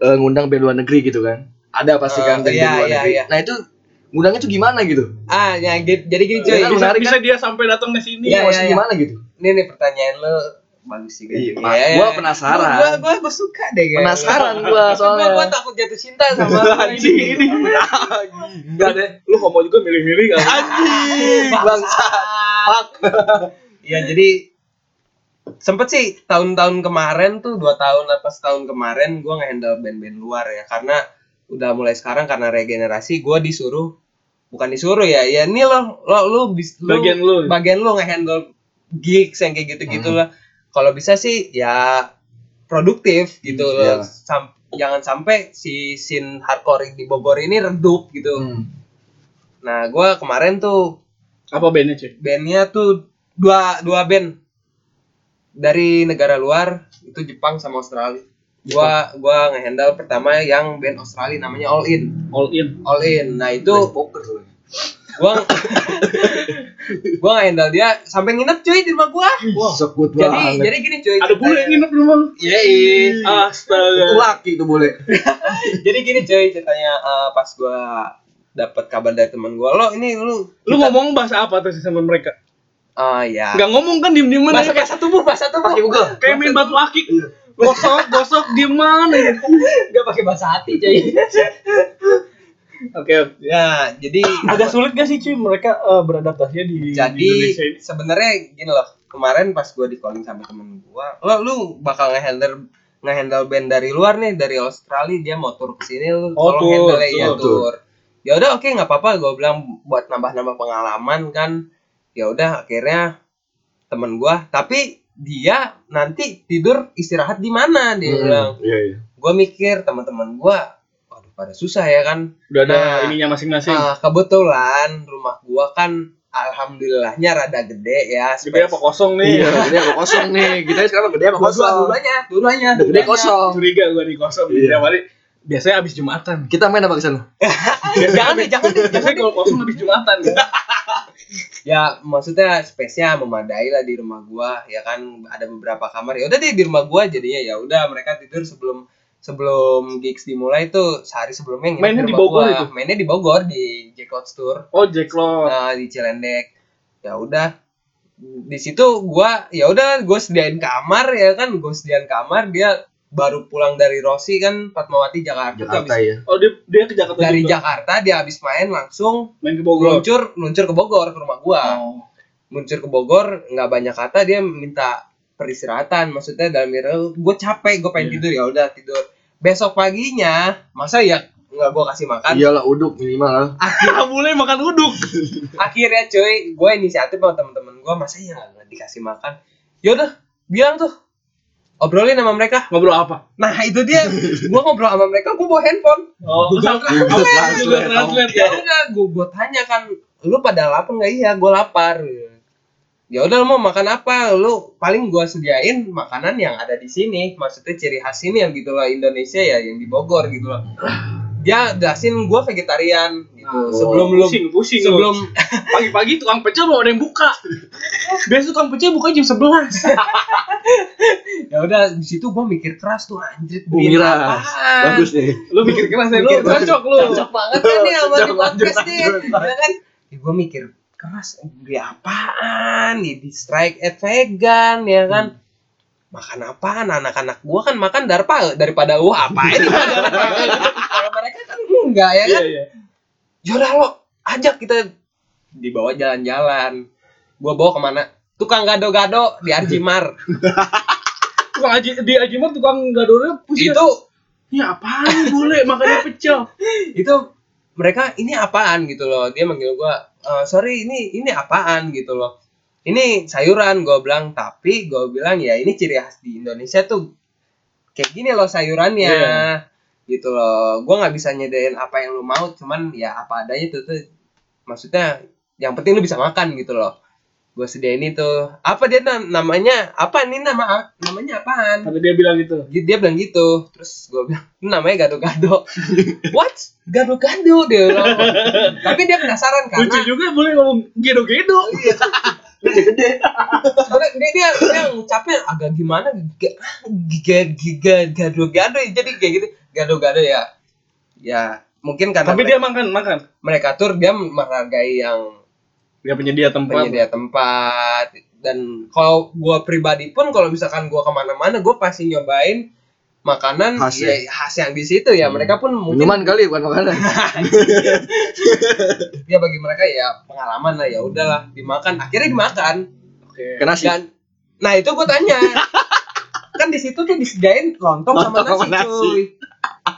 S2: eh, ngundang band luar negeri gitu kan. Ada pasti kan band
S3: Eh, iya,
S2: luar
S3: iya,
S2: negeri.
S3: iya.
S2: Nah itu ngundangnya tuh gimana gitu?
S3: ah ya gi- jadi gini cuy
S2: Iya, kan,
S1: bisa,
S2: menarik,
S1: bisa dia sampai datang ke sini.
S3: Iya,
S2: Iya,
S3: iya, iya.
S2: gimana gitu?
S3: ini nih pertanyaan lo bagus juga.
S2: Iya, gua penasaran.
S3: Gua, gua, gua suka deh. kayaknya.
S2: Penasaran gua
S3: Tapi
S2: soalnya.
S3: iya. Gua, gua takut jatuh cinta sama lo
S2: Anjing ini. Enggak deh.
S1: Lu homo juga milih-milih kan?
S2: Anjing, bangsa.
S3: Iya jadi sempet sih tahun-tahun kemarin tuh dua tahun apa setahun kemarin gua ngehandle band-band luar ya karena udah mulai sekarang karena regenerasi gua disuruh bukan disuruh ya ya ini lo lo lu bis- lu-
S1: Bagian lu.
S3: bagian lu ngehandle gigs yang kayak gitu-gitu lah. Kalau bisa sih ya produktif gitu
S2: Hmm,
S3: loh.
S2: iyalah.
S3: Sam- jangan sampai si scene hardcore di Bogor ini redup gitu.
S2: Mm.
S3: Nah, gua kemarin tuh
S1: Apa bandnya cuy?
S3: bandnya tuh dua dua band dari negara luar itu Jepang sama Australia. Gua gua ngehandle pertama yang band Australia namanya All In.
S1: All in.
S3: All In. Nah, itu
S2: Itu poker tuh.
S3: gua gua ngehandle dia sampai nginep cuy di rumah gua.
S2: Wah, sekut
S3: jadi
S2: banget.
S3: jadi gini cuy
S1: Ada bule yang
S3: ceritanya.
S1: nginep di rumah. lu.
S2: Ya,
S3: Yeay.
S2: iya. Itu
S1: Astaga.
S2: laki itu boleh.
S3: jadi gini cuy ceritanya eh, pas gua dapat kabar dari teman gua lo ini lu
S1: Lu ngomong bahasa apa tuh sih sama mereka?
S3: ah ya
S1: Nggak ngomong kan diem-dieman
S3: bahasa
S1: aja.
S3: bahasa tubuh bahasa tubuh
S2: Pakai Google.
S1: Kayak main batu akik. Gosok, gosok, dieman aja.
S3: nggak pakai bahasa hati cuy
S1: Oke.
S3: ya jadi
S1: Agak sulit gak sih cuy mereka eh, beradaptasinya di di
S3: jadi
S1: Indonesia ini?
S3: sebenarnya gini loh kemarin pas gua di calling sama temen gua lo lu bakal ngehandle ngehandle band dari luar nih dari Australia dia mau tur kesini lu
S1: Oh,
S3: tolong
S1: tour,
S3: handle ya
S2: tour,
S3: tour ya udah oke nggak apa-apa gua bilang buat nambah-nambah pengalaman kan ya udah akhirnya temen gua tapi dia nanti tidur istirahat di mana dia bilang
S2: Hmm, Iya, iya.
S3: gua mikir teman-teman gua waduh pada susah ya kan
S1: Udah ada
S3: Nah.
S1: ininya masing-masing.
S3: Ah, kebetulan rumah gua kan alhamdulillahnya rada gede ya.
S1: Gede apa kosong nih?
S2: Iya, gede apa kosung nih. Kita sekarang gede apa
S3: Dua-dua,
S2: kosong.
S3: dua-duanya, dua-duanya.
S2: Udah gede
S3: dua-duanya.
S2: kosong.
S1: Curiga gue nih kosong.
S2: Iya.
S1: Tiap hari biasanya abis jumatan.
S2: Kita main apa ke sana?
S3: jangan deh, jangan deh, jangan
S1: Biasanya kalau kosong abis jumatan. gitu.
S3: ya maksudnya space-nya memadai lah di rumah gua ya kan ada beberapa kamar ya udah deh di rumah gua jadinya ya udah mereka tidur sebelum sebelum gigs dimulai tuh sehari sebelumnya nginep
S1: Mainnya di
S3: rumah
S1: Bogor
S3: gua.
S1: itu?
S3: mainnya di Bogor di Jacobs Tour
S1: Oh Jacklot.
S3: nah, di Cilendek ya udah di situ gua ya udah gua sediain kamar ya kan gua sediain kamar dia baru pulang dari Rossi kan Fatmawati Jakarta, Tuh
S2: Jakarta
S3: habis-
S2: ya.
S1: Oh dia dia ke Jakarta
S3: dari
S1: juga.
S3: Jakarta dia habis main langsung
S1: Main ke Bogor.
S3: meluncur meluncur ke Bogor ke rumah gua
S1: Oh.
S3: muncul ke Bogor nggak banyak kata dia minta peristirahatan maksudnya dalam diri gue capek gue pengen
S1: Iya.
S3: tidur ya udah tidur besok paginya masa ya nggak gue kasih makan
S2: Iyalah uduk minimal lah.
S1: Ah, boleh makan uduk.
S3: akhirnya cuy gue inisiatif sama temen-temen gue masa ya nggak nggak dikasih makan yaudah bilang tuh obrolin sama mereka
S1: Ngobrol apa?
S3: nah itu dia gue ngobrol sama mereka gue bawa handphone
S1: Oh,
S3: Google Translate.
S1: Google Translate
S3: ya
S1: ya.
S3: udah gue gue tanya kan lu pada lapar nggak iya gue lapar ya udah lu mau makan apa lu paling gue sediain makanan yang ada di sini maksudnya ciri khas sini yang gitu loh Indonesia ya yang di Bogor gitu loh dia jelasin gue vegetarian gitu
S1: Oh,
S3: sebelum lu
S1: pusing, pusing. lu.
S3: sebelum
S1: pagi-pagi tukang pecel mau ada yang buka. Biasa tukang pecel buka jam 11.
S3: ya udah di situ gue mikir keras tuh anjir
S2: Oh,
S3: beliin
S2: miras.
S3: apaan?
S2: Bagus nih.
S1: Lu mikir keras ya,
S3: lu
S1: mikir keras.
S3: cocok lu cocok banget kan nih sama di
S2: Cocok,
S3: podcast
S2: lanjut,
S3: nih ya kan gue mikir keras beli apaan ya di strike at vegan ya kan makan apaan anak-anak gua kan makan darpa daripada wah apain ini kalau mereka kan enggak
S1: Iya,
S3: ya kan
S1: iya.
S3: yaudah lo ajak kita dibawa jalan-jalan gua bawa kemana tukang gado-gado di Arjimar
S1: Tukang aji di Ajimar tukang gadornya pusing.
S3: itu
S1: Ya apaan boleh makannya pecel.
S3: itu mereka ini apaan gitu loh dia manggil gua "Eh, sorry ini ini apaan gitu loh ini sayuran gua bilang tapi gua bilang ya ini ciri khas di Indonesia tuh kayak gini loh sayurannya
S1: Iya.
S3: gitu loh gua nggak bisa nyedain apa yang lu mau cuman ya apa adanya tuh tuh maksudnya yang penting lu bisa makan gitu loh gua sediain itu apa dia nam- namanya apa nih nama namanya apaan
S1: Kata dia bilang gitu.
S3: dia dia bilang gitu terus gue bilang "Ini namanya gado-gado what gado-gado dia bilang tapi dia penasaran
S1: Lucu
S3: karena
S1: juga boleh ngomong gedo-gedo.
S2: Gede.
S3: karena dia dia, dia ngucapnya agak gimana giga giga giga gado-gado ya. jadi kayak gitu gado-gado ya ya mungkin karena
S1: Tapi dia
S3: mereka,
S1: makan, makan.
S3: mereka tur dia menghargai yang
S1: Dia penyedia tempat.
S3: penyedia tempat dan kalau gua pribadi pun kalau misalkan gua kemana-mana gua pasti nyobain makanan
S2: Khas ya?
S3: ya, khas yang di situ ya mereka pun mungkin
S2: Minuman kali bukan makanan.
S3: ya bagi mereka ya pengalaman lah ya udahlah dimakan akhirnya dimakan
S1: Oke.
S2: Kena sih.
S3: dan nah itu gue tanya kan di situ tuh disediain lontong sama
S2: Lontong sama
S3: nasi,
S2: nasi.
S3: cuy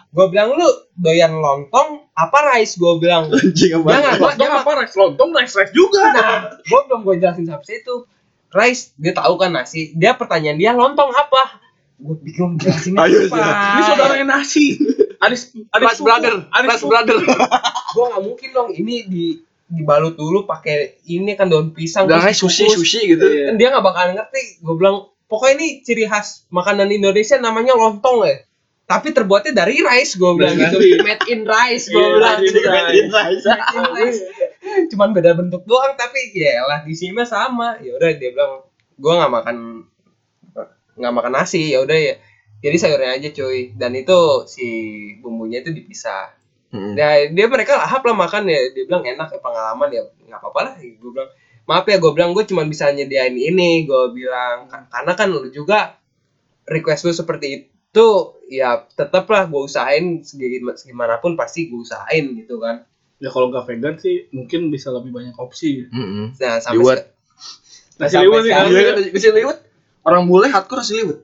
S3: gue bilang lu doyan lontong apa rice gue bilang
S2: Anjing
S3: Jangan.
S2: apa?
S1: Lontong
S3: dia
S1: apa? Rex lontong, Rex Rex juga.
S3: nah gue belum gue jelasin sampai situ rice dia tahu kan nasi dia pertanyaan dia lontong apa gue bingung jelasin
S2: Ayo,
S3: apa
S1: Ini saudaranya nasi. Aris Aris
S2: Ras brother,
S1: Aris
S2: Ras brother.
S3: gue nggak mungkin dong ini di dibalut dulu pakai ini kan daun pisang
S2: Udah kayak
S3: terus
S2: sushi
S3: dikukus.
S2: sushi gitu.
S1: Iya.
S3: kan dia nggak bakalan ngerti gue bilang pokoknya ini ciri khas makanan Indonesia namanya lontong ya tapi terbuatnya dari rice gue bilang
S1: Dari
S3: gitu
S1: rice.
S3: made in rice gue
S1: Iya,
S3: bilang
S1: dari
S3: gitu kan.
S1: rice.
S3: Made in rice. cuman beda bentuk doang tapi ya lah di sini mah sama ya udah dia bilang gue nggak makan nggak makan nasi ya udah ya jadi sayurnya aja cuy dan itu si bumbunya itu dipisah
S2: Hmm.
S3: Nah, dia mereka lahap lah makan ya. Dia bilang enak ya pengalaman ya nggak apa-apa lah. Gue bilang maaf ya gue bilang gue cuma bisa nyediain ini. Gue bilang "Ka- karena kan lu juga request lu seperti itu ya tetaplah gue usahain segim- segimanapun pasti gue usahain gitu kan.
S1: Ya kalau nggak vegan sih mungkin bisa lebih banyak opsi.
S2: Hmm.
S3: Nah sampai
S2: Dibuat.
S3: se-
S1: Nasi
S3: Sampai
S1: liwet sih.
S3: sekarang.
S2: Iya kan nasi liwet. Orang boleh hardcore nasi liwet.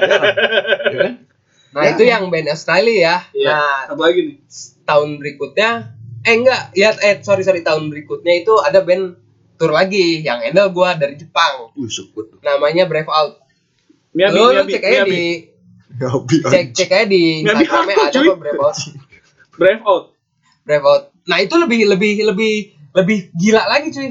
S2: Iya kan?
S3: nah itu yang band Australia ya.
S1: Iya.
S3: Nah
S1: Apa lagi nih?
S3: tahun berikutnya eh enggak ya eh sorry sorry tahun berikutnya itu ada band tour lagi yang handle gue dari Jepang
S2: Wih, sekut.
S3: namanya Brave Out
S1: Miyabi,
S3: lu, lu
S1: Miyabi,
S3: cek aja
S1: Miyabi.
S3: di
S2: Ya, bi-
S3: cek cek aja di
S1: Nggak
S3: Instagramnya
S1: diatur,
S3: ada
S1: cuy.
S3: kok brave out
S1: Brave out.
S3: brave out nah itu lebih lebih lebih lebih gila lagi cuy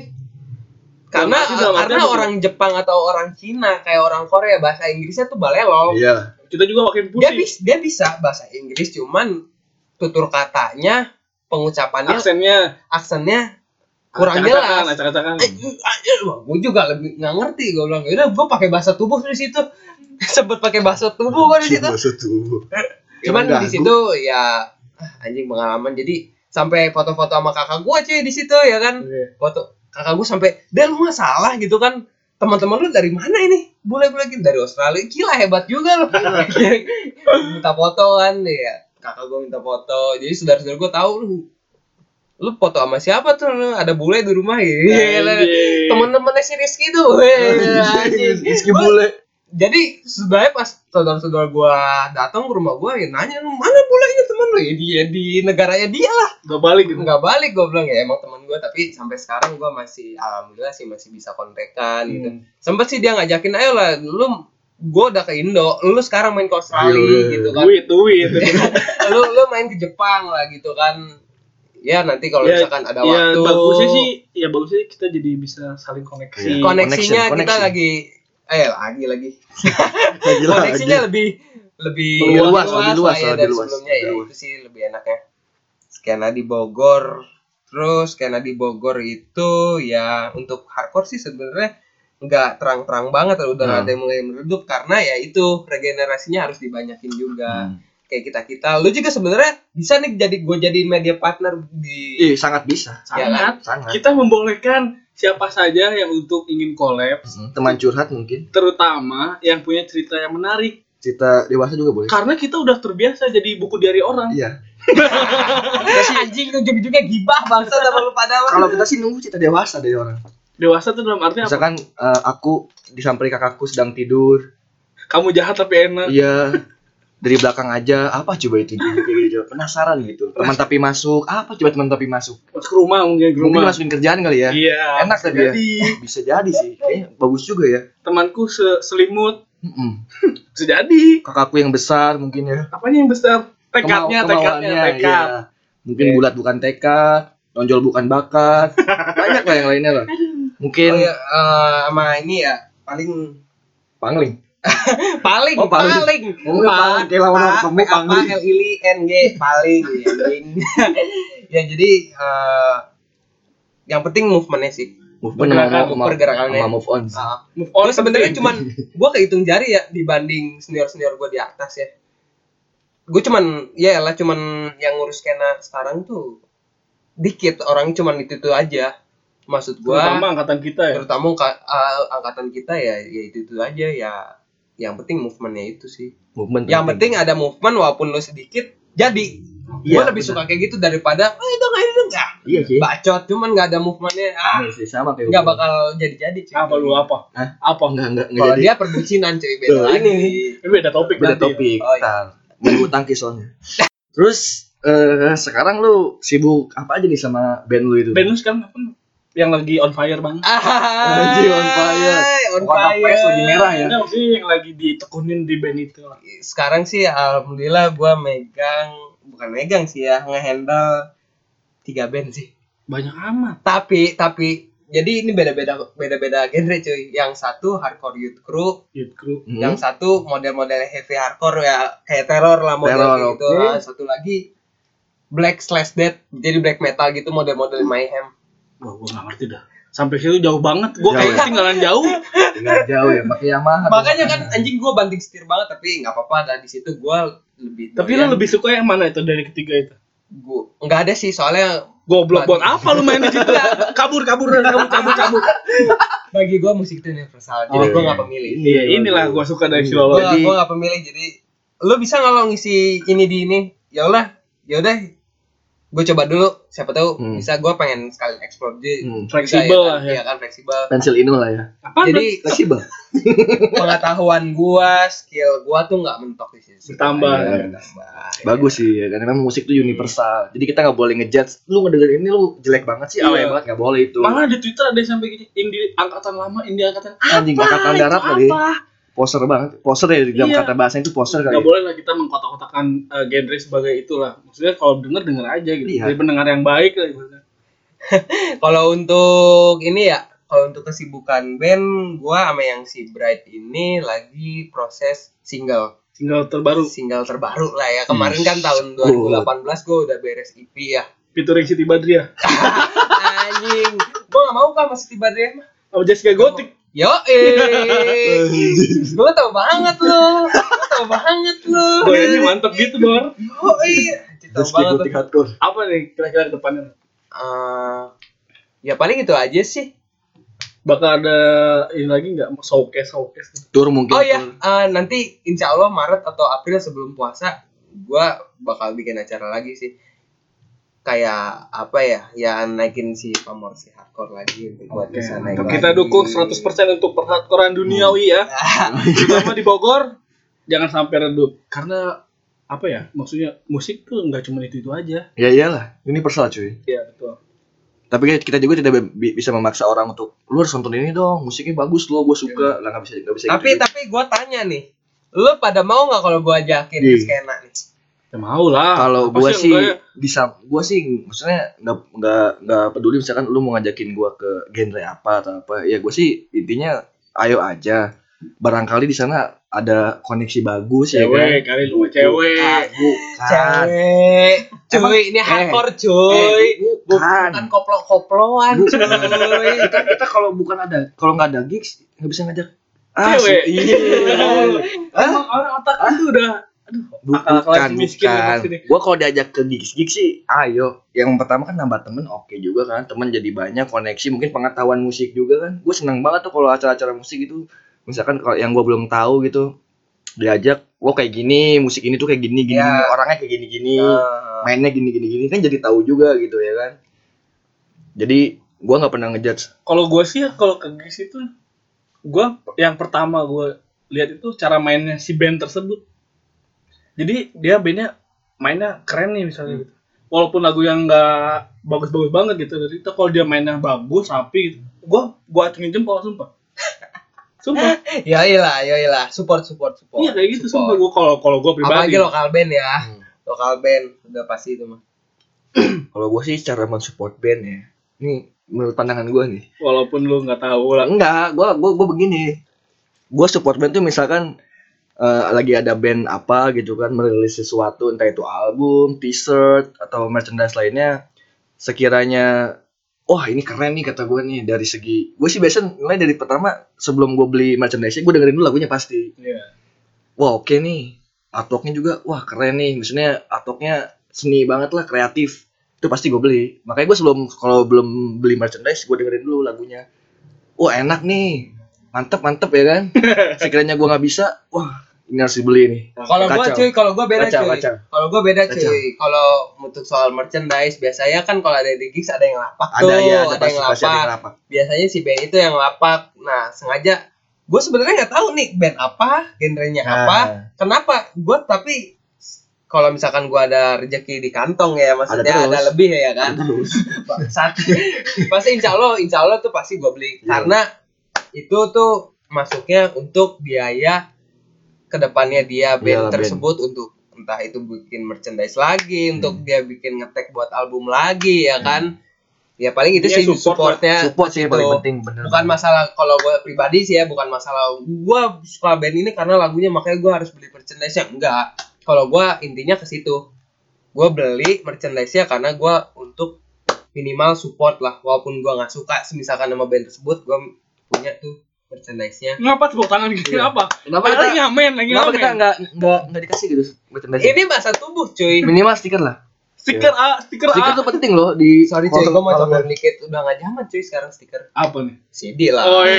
S3: karena
S1: Dalam arti- dalam artian
S3: karena
S1: apa?
S3: orang Jepang atau orang Cina kayak orang Korea bahasa Inggrisnya tuh balelong
S2: Iya.
S1: Kita juga makin pusing.
S3: dia bisa dia bisa bahasa Inggris cuman tutur katanya pengucapannya
S1: Aksennya
S3: aksennya kurang
S1: acak-acakan,
S3: jelas Eh,
S1: acak-acakan.
S3: gue juga lebih nggak ngerti gue bilang yaudah gue pakai bahasa tubuh di situ sebut pakai bahasa tubuh gue di situ
S2: Maksud tuh.
S3: cuman
S2: Emang
S3: di
S2: ganggu.
S3: situ ya ah, anjing pengalaman jadi sampai foto-foto sama kakak gue cuy di situ ya kan
S1: Oke.
S3: foto kakak gue sampai dan lu nggak salah gitu kan teman-teman lu dari mana ini bule-bule gini dari Australia gila hebat juga lu minta foto kan ya kakak gue minta foto jadi saudara-saudara gue tahu lu lu foto sama siapa tuh lu ada bule di rumah ya
S1: Anjing.
S3: temen-temennya si Rizky tuh Iya. weh, anjing
S2: Rizky bule.
S3: jadi sebenarnya pas saudara-saudara gua datang ke rumah gua ya nanya "Lu mana bolanya teman lu ya dia di negaranya dia lah
S1: Gak balik gitu.
S3: nggak balik gua bilang ya emang teman gua tapi sampai sekarang gua masih alhamdulillah sih masih bisa kontekan gitu
S1: Hmm.
S3: sempet sih dia ngajakin ayo lah lu gua udah ke Indo lu sekarang main ke Australia
S2: Iya.
S3: gitu kan
S1: Duit, duit.
S3: lu lu main ke Jepang lah gitu kan ya nanti kalau
S1: Ya,
S3: misalkan ada
S1: ya
S3: waktu
S1: bagusnya sih, ya bagusnya kita jadi bisa saling koneksi.
S2: Iya.
S3: koneksinya
S2: Connection,
S3: kita
S2: connection.
S3: lagi eh lagi lagi
S2: Lagi
S3: koneksinya lebih lebih
S2: Lebih luas, lebih
S3: lah
S2: luas,
S3: ya
S2: lebih
S3: dari
S2: luas,
S3: sebelumnya
S2: lebih
S3: ya
S2: luas.
S3: itu sih lebih enaknya skena di Bogor terus skena di Bogor itu ya untuk hardcore sih sebenarnya nggak terang-terang banget udah
S2: Hmm.
S3: ada yang mulai meredup karena ya itu regenerasinya harus dibanyakin juga
S2: Hmm.
S3: kayak kita kita lu juga sebenarnya bisa nih jadi gue jadi media partner di
S2: Ih, sangat bisa.
S3: Ya
S1: Sangat.
S2: Sangat.
S1: Kita membolehkan siapa saja yang untuk ingin collab,
S2: Hmm, Teman curhat mungkin.
S1: terutama yang punya cerita yang menarik.
S2: Cerita dewasa juga boleh.
S1: Karena kita udah terbiasa jadi buku diary orang.
S2: Iya.
S3: anjing ujung-ujungnya gibah bangsa sama lu pada lah.
S2: Kalau kita sih nunggu cerita dewasa dari orang.
S1: Dewasa tuh dalam arti apa?
S2: Misalkan eh, aku disamperi kakakku sedang tidur.
S1: Kamu jahat tapi enak.
S2: Iya. Dari belakang aja, apa coba itu? Penasaran gitu. Teman tapi masuk, apa coba teman tapi masuk?
S1: Masuk ke rumah mungkin ke
S2: Mungkin
S1: rumah.
S2: masukin kerjaan kali ya.
S1: Iya.
S2: Enak
S1: bisa
S2: tapi ya.
S1: jadi.
S2: Bisa jadi sih. Kayaknya bagus juga ya.
S1: Temanku se- selimut.
S2: Mm-mm.
S1: Bisa jadi.
S2: Kakakku yang besar mungkin ya.
S1: Apanya yang besar?
S2: Kemau-
S1: Tekadnya, tekadnya,
S2: kemauannya,
S1: tekad.
S2: iya. Mungkin
S1: Iya.
S2: bulat bukan tekad, tonjol bukan bakat. Banyak lah yang lainnya lah. Mungkin
S1: iya.
S3: Oh, ya, eh, sama ini ya paling
S2: pangling.
S3: paling
S2: Oh, paling.
S3: paling paling
S2: Oh, paling. Kayak lawan orang ketemu, paling.
S3: L I N G paling ya, paling. ya jadi eh, yang penting movementnya sih
S2: Move
S1: Pergerakan,
S2: sama- sama-
S3: pergerakannya.
S2: sama move on.
S3: Ah,
S1: Move on
S3: Gua sebenarnya
S1: penting.
S3: cuman gue kehitung jari ya dibanding senior senior gue di atas ya gue cuman ya lah cuman yang ngurus skena sekarang tuh dikit orang cuman itu itu aja maksud gue
S1: terutama angkatan kita ya.
S3: terutama angka- eh, angkatan kita ya ya itu itu aja ya yang penting movementnya itu sih
S2: Movement
S3: yang penting ada movement walaupun lu sedikit jadi
S2: Iya,
S3: gue lebih
S2: benar.
S3: suka kayak gitu daripada eh dong ini dong ah
S2: Iya sih.
S3: bacot cuman nggak ada movementnya ah
S2: Iya sih, sama kayak
S3: nggak
S2: gue.
S3: bakal jadi jadi cuy
S1: Apa lu apa?
S2: Hah?
S1: Apa
S2: Enggak, enggak, enggak
S3: kalau
S2: jadi.
S3: dia perbucinan cuy beda
S2: Tuh,
S3: lagi
S1: Ini beda topik ya?
S2: Beda
S1: nanti.
S2: topik.
S3: Oh, iya.
S2: Ntar. Mau tangkis soalnya. Terus eh, sekarang lu sibuk apa aja nih sama band lu itu?
S1: Band lu sekarang kan apa? Yang lagi on fire banget.
S3: ah
S2: Anjing, on fire.
S3: on
S2: Warna
S3: fire.
S2: pes lagi merah ya.
S1: Ini maksudnya yang lagi ditekunin di band itu.
S3: sekarang sih alhamdulillah gue megang bukan megang sih ya ngehandle tiga band sih
S1: Banyak amat.
S3: tapi tapi jadi ini beda-beda beda-beda genre cuy yang satu hardcore youth crew
S1: Youth crew.
S2: Hmm?
S3: yang satu model-model heavy hardcore ya kayak teror lah
S2: Teror,
S3: model gitu
S2: oke.
S3: Nah, satu lagi black slash dead jadi black metal gitu model-model
S2: Hmm.
S3: mayhem
S1: Wah, gua gak ngerti dah. Sampai situ jauh banget. Gua
S2: Jauh
S1: kayak
S2: ya?
S1: ketinggalan jauh.
S2: Tinggal jauh ya, pakai Yamaha.
S3: makanya kan anjing gua banting setir banget tapi nggak apa-apa dah di situ gua lebih
S1: Tapi lu lebih suka yang mana itu dari ketiga itu?
S3: gua nggak ada sih soalnya
S1: Goblok buat apa lu main di situ? Kabur, kabur, kabur, kabur, kabur.
S3: bagi gua musik itu universal
S2: Oh,
S3: jadi gua
S2: iya.
S3: nggak pemilih
S1: Iya, inilah gua suka dari
S2: Iya.
S1: Silolo.
S3: gua
S2: Jadi-
S3: gua nggak pemilih jadi lu bisa nggak lo ngisi ini di ini ya udah ya udah gue coba dulu siapa tahu
S2: Hmm.
S3: bisa gua pengen sekali explore jadi
S2: Hmm,
S1: Fleksibel
S3: bisa,
S1: lah
S3: ya,
S1: ya.
S3: kan, ya kan fleksibel
S2: pensil ino lah ya.
S1: Apa?
S3: jadi
S2: Fleksibel.
S3: pengetahuan gua, skill gua tuh nggak mentok di sini.
S1: Bertambah.
S3: Iya, bertambah.
S2: Bagus sih ya, karena memang musik tuh universal. Jadi kita nggak boleh ngejudge. Lu ngedengerin ini lu jelek banget sih, alay
S1: Iya.
S2: banget nggak boleh itu.
S1: Malah di Twitter ada yang sampai gini, ini angkatan lama, ini angkatan
S2: Anjing
S1: apa?
S2: angkatan
S1: Itu
S2: darat kali.
S1: apa?
S2: Poser banget. Poser ya di dalam
S1: Iya.
S2: kata bahasa itu poser kali. ya.
S1: nggak boleh lah kita mengkotak-kotakan eh, genre sebagai itulah maksudnya kalau denger denger aja gitu kan.
S2: Iya.
S1: jadi pendengar yang baik lah gitu.
S3: Kalau untuk ini ya, kalau untuk kesibukan band gua sama yang si Bright ini lagi proses single
S1: Single terbaru
S3: single terbaru lah ya kemarin kan tahun 2018 gua udah beres EP ya
S1: featuring Siti Badriah.
S3: anjing gua nggak mau kan masih tiba deh
S1: Sama Jessica Gotik.
S3: yo gua tau banget lo gua tau banget lo
S1: Goyangnya mantep gitu, Bor.
S3: yo tau
S2: Terus
S3: banget
S2: ikuti hardcore.
S1: Apa nih kira-kira ke depannya?
S3: Eh, ya paling itu aja sih
S1: Bakal ada ini lagi nggak showcase showcase?
S2: Tour mungkin.
S3: Oh
S1: iya.
S3: ya,
S2: tour.
S3: eh, nanti insya Allah Maret atau April sebelum puasa, gua bakal bikin acara lagi sih. Kayak apa ya? Ya naikin si pamor si hardcore lagi untuk buat
S1: Oke,
S3: bisa naik
S1: mantap. kita
S3: lagi.
S1: dukung 100% untuk perhardcorean duniawi ya. Terutama di Bogor, jangan sampai redup karena apa ya? Maksudnya musik tuh nggak cuma itu itu aja.
S2: Ya iyalah, ini personal cuy.
S1: Iya betul.
S2: Tapi kan kita juga tidak bi- bisa memaksa orang untuk lu harus nonton ini dong, musiknya bagus loh, gue suka.
S1: Iya.
S2: Lah nggak bisa nggak bisa. gitu.
S3: Tapi tapi gua tanya nih, lu pada mau nggak kalau gua ajakin
S2: Iya.
S3: ke skena nih?
S1: Ya mau lah.
S2: kalau
S1: Apa
S2: gua sih
S1: enggak ya?
S2: bisa gua sih maksudnya nggak nggak nggak peduli misalkan lu mau ngajakin gua ke genre apa atau apa ya gua sih intinya ayo aja barangkali di sana ada koneksi bagus ya
S1: cewek
S2: kan
S1: kali lu mah cewek.
S2: Ah, bukan
S3: Cewek,
S2: Emang-
S3: cuy,
S1: Eh.
S3: ini hardcore cuy.
S2: Eh, bukan
S3: Bukan koplo-koploan cuy.
S2: kan kita kalau bukan ada kalau nggak ada gigs nggak bisa ngajak
S1: Cewek.
S2: su- iya. Hah?
S1: Emang orang otak itu udah
S2: Bu-
S1: Akal-akalan
S2: bukan
S1: si miskin yang
S2: bukan
S1: kesini.
S2: gue kalau diajak ke gigs gigs sih ayo yang pertama kan nambah temen oke juga kan temen jadi banyak koneksi mungkin pengetahuan musik juga kan gue seneng banget tuh kalau acara-acara musik gitu misalkan kalau yang gue belum tahu gitu diajak wah kayak gini musik ini tuh kayak gini gini,
S3: Ya.
S2: gini, orangnya kayak gini gini
S3: Eh,
S2: mainnya gini gini gini kan jadi tahu juga gitu ya kan jadi gue nggak pernah ngejudge
S1: kalau gue sih ya kalau ke gigs itu gue yang pertama gue lihat itu cara mainnya si band tersebut jadi dia bandnya mainnya keren nih misalnya gitu walaupun lagu yang nggak bagus-bagus banget gitu dari itu kalau dia mainnya bagus rapi gitu gue gue acungin jempol sumpah sumpah
S3: Yoilah, yoilah, ya support, support, support.
S1: iya kayak gitu sumpah gue kalau kalau gue
S3: Apalagi
S1: pribadi
S3: lokal band ya.
S2: Hmm.
S3: Lokal band udah pasti itu mah.
S2: kalau gue sih cara mensupport band ya ini menurut pandangan gue nih
S1: walaupun lu nggak tahu lah
S2: enggak gua gua gua begini gua support band tuh misalkan eh, lagi ada band apa gitu kan merilis sesuatu entah itu album t-shirt atau merchandise lainnya sekiranya wah ini keren nih kata gua nih dari segi gue sih biasanya mulai dari pertama sebelum gue beli merchandise gue dengerin dulu lagunya pasti
S1: Iya.
S2: wah oke nih artworknya juga wah keren nih maksudnya artworknya seni banget lah kreatif itu pasti gue beli makanya gue sebelum kalau belum beli merchandise gue dengerin dulu lagunya wah enak nih mantep mantep ya kan sekiranya gue nggak bisa wah ini harus dibeli nih
S3: Kalau gua
S2: Kacau.
S3: cuy, kalau gua beda
S2: Kacau,
S3: cuy.
S2: kacau.
S3: Kalau gua beda
S2: Kacau.
S3: cuy. Kalau untuk soal merchandise biasanya kan kalau ada di gigs ada yang lapak tuh,
S2: ada ya ada
S3: yang
S2: pasti pasti ada
S3: lapak.
S2: yang lapak
S3: Biasanya si band itu yang lapak. Nah, sengaja gua sebenarnya nggak tahu nih band apa, genrenya
S2: Nah.
S3: apa, kenapa gua tapi kalau misalkan gua ada rezeki di kantong ya maksudnya
S2: terus.
S3: ada, lebih ya kan
S2: terus
S3: Bangsat. pasti insya Allah insya Allah tuh pasti gue beli
S2: Iya.
S3: karena itu tuh masuknya untuk biaya kedepannya dia
S2: Iyalah,
S3: band
S2: Iya, band.
S3: tersebut untuk entah itu bikin merchandise lagi
S2: Hmm.
S3: untuk dia bikin ngetek buat album lagi ya kan ya paling itu
S1: Iya,
S3: sih
S1: support
S3: supportnya
S2: support sih yang paling
S3: Betul.
S2: penting bener
S3: bukan masalah kalau gue pribadi sih ya bukan masalah gue suka band ini karena lagunya makanya gue harus beli merchandise nya enggak kalau gue intinya ke situ gue beli merchandise nya karena gue untuk minimal support lah walaupun gue nggak suka misalkan sama band tersebut gue punya tuh merchandise nya
S1: ngapa tepuk tangan gitu
S2: Iya.
S1: apa
S2: kenapa kita
S1: lagi ngamen lagi
S2: kenapa kita
S1: ngamen
S2: nggak nggak nggak dikasih gitu merchandise
S3: ini bahasa tubuh cuy
S2: minimal stiker lah
S1: stiker A stiker
S2: stiker
S1: A
S2: tuh penting loh di
S3: sorry cuy gue mau
S2: kalau-
S3: coba dikit udah nggak zaman cuy sekarang stiker
S1: apa nih
S3: CD lah
S1: Oi,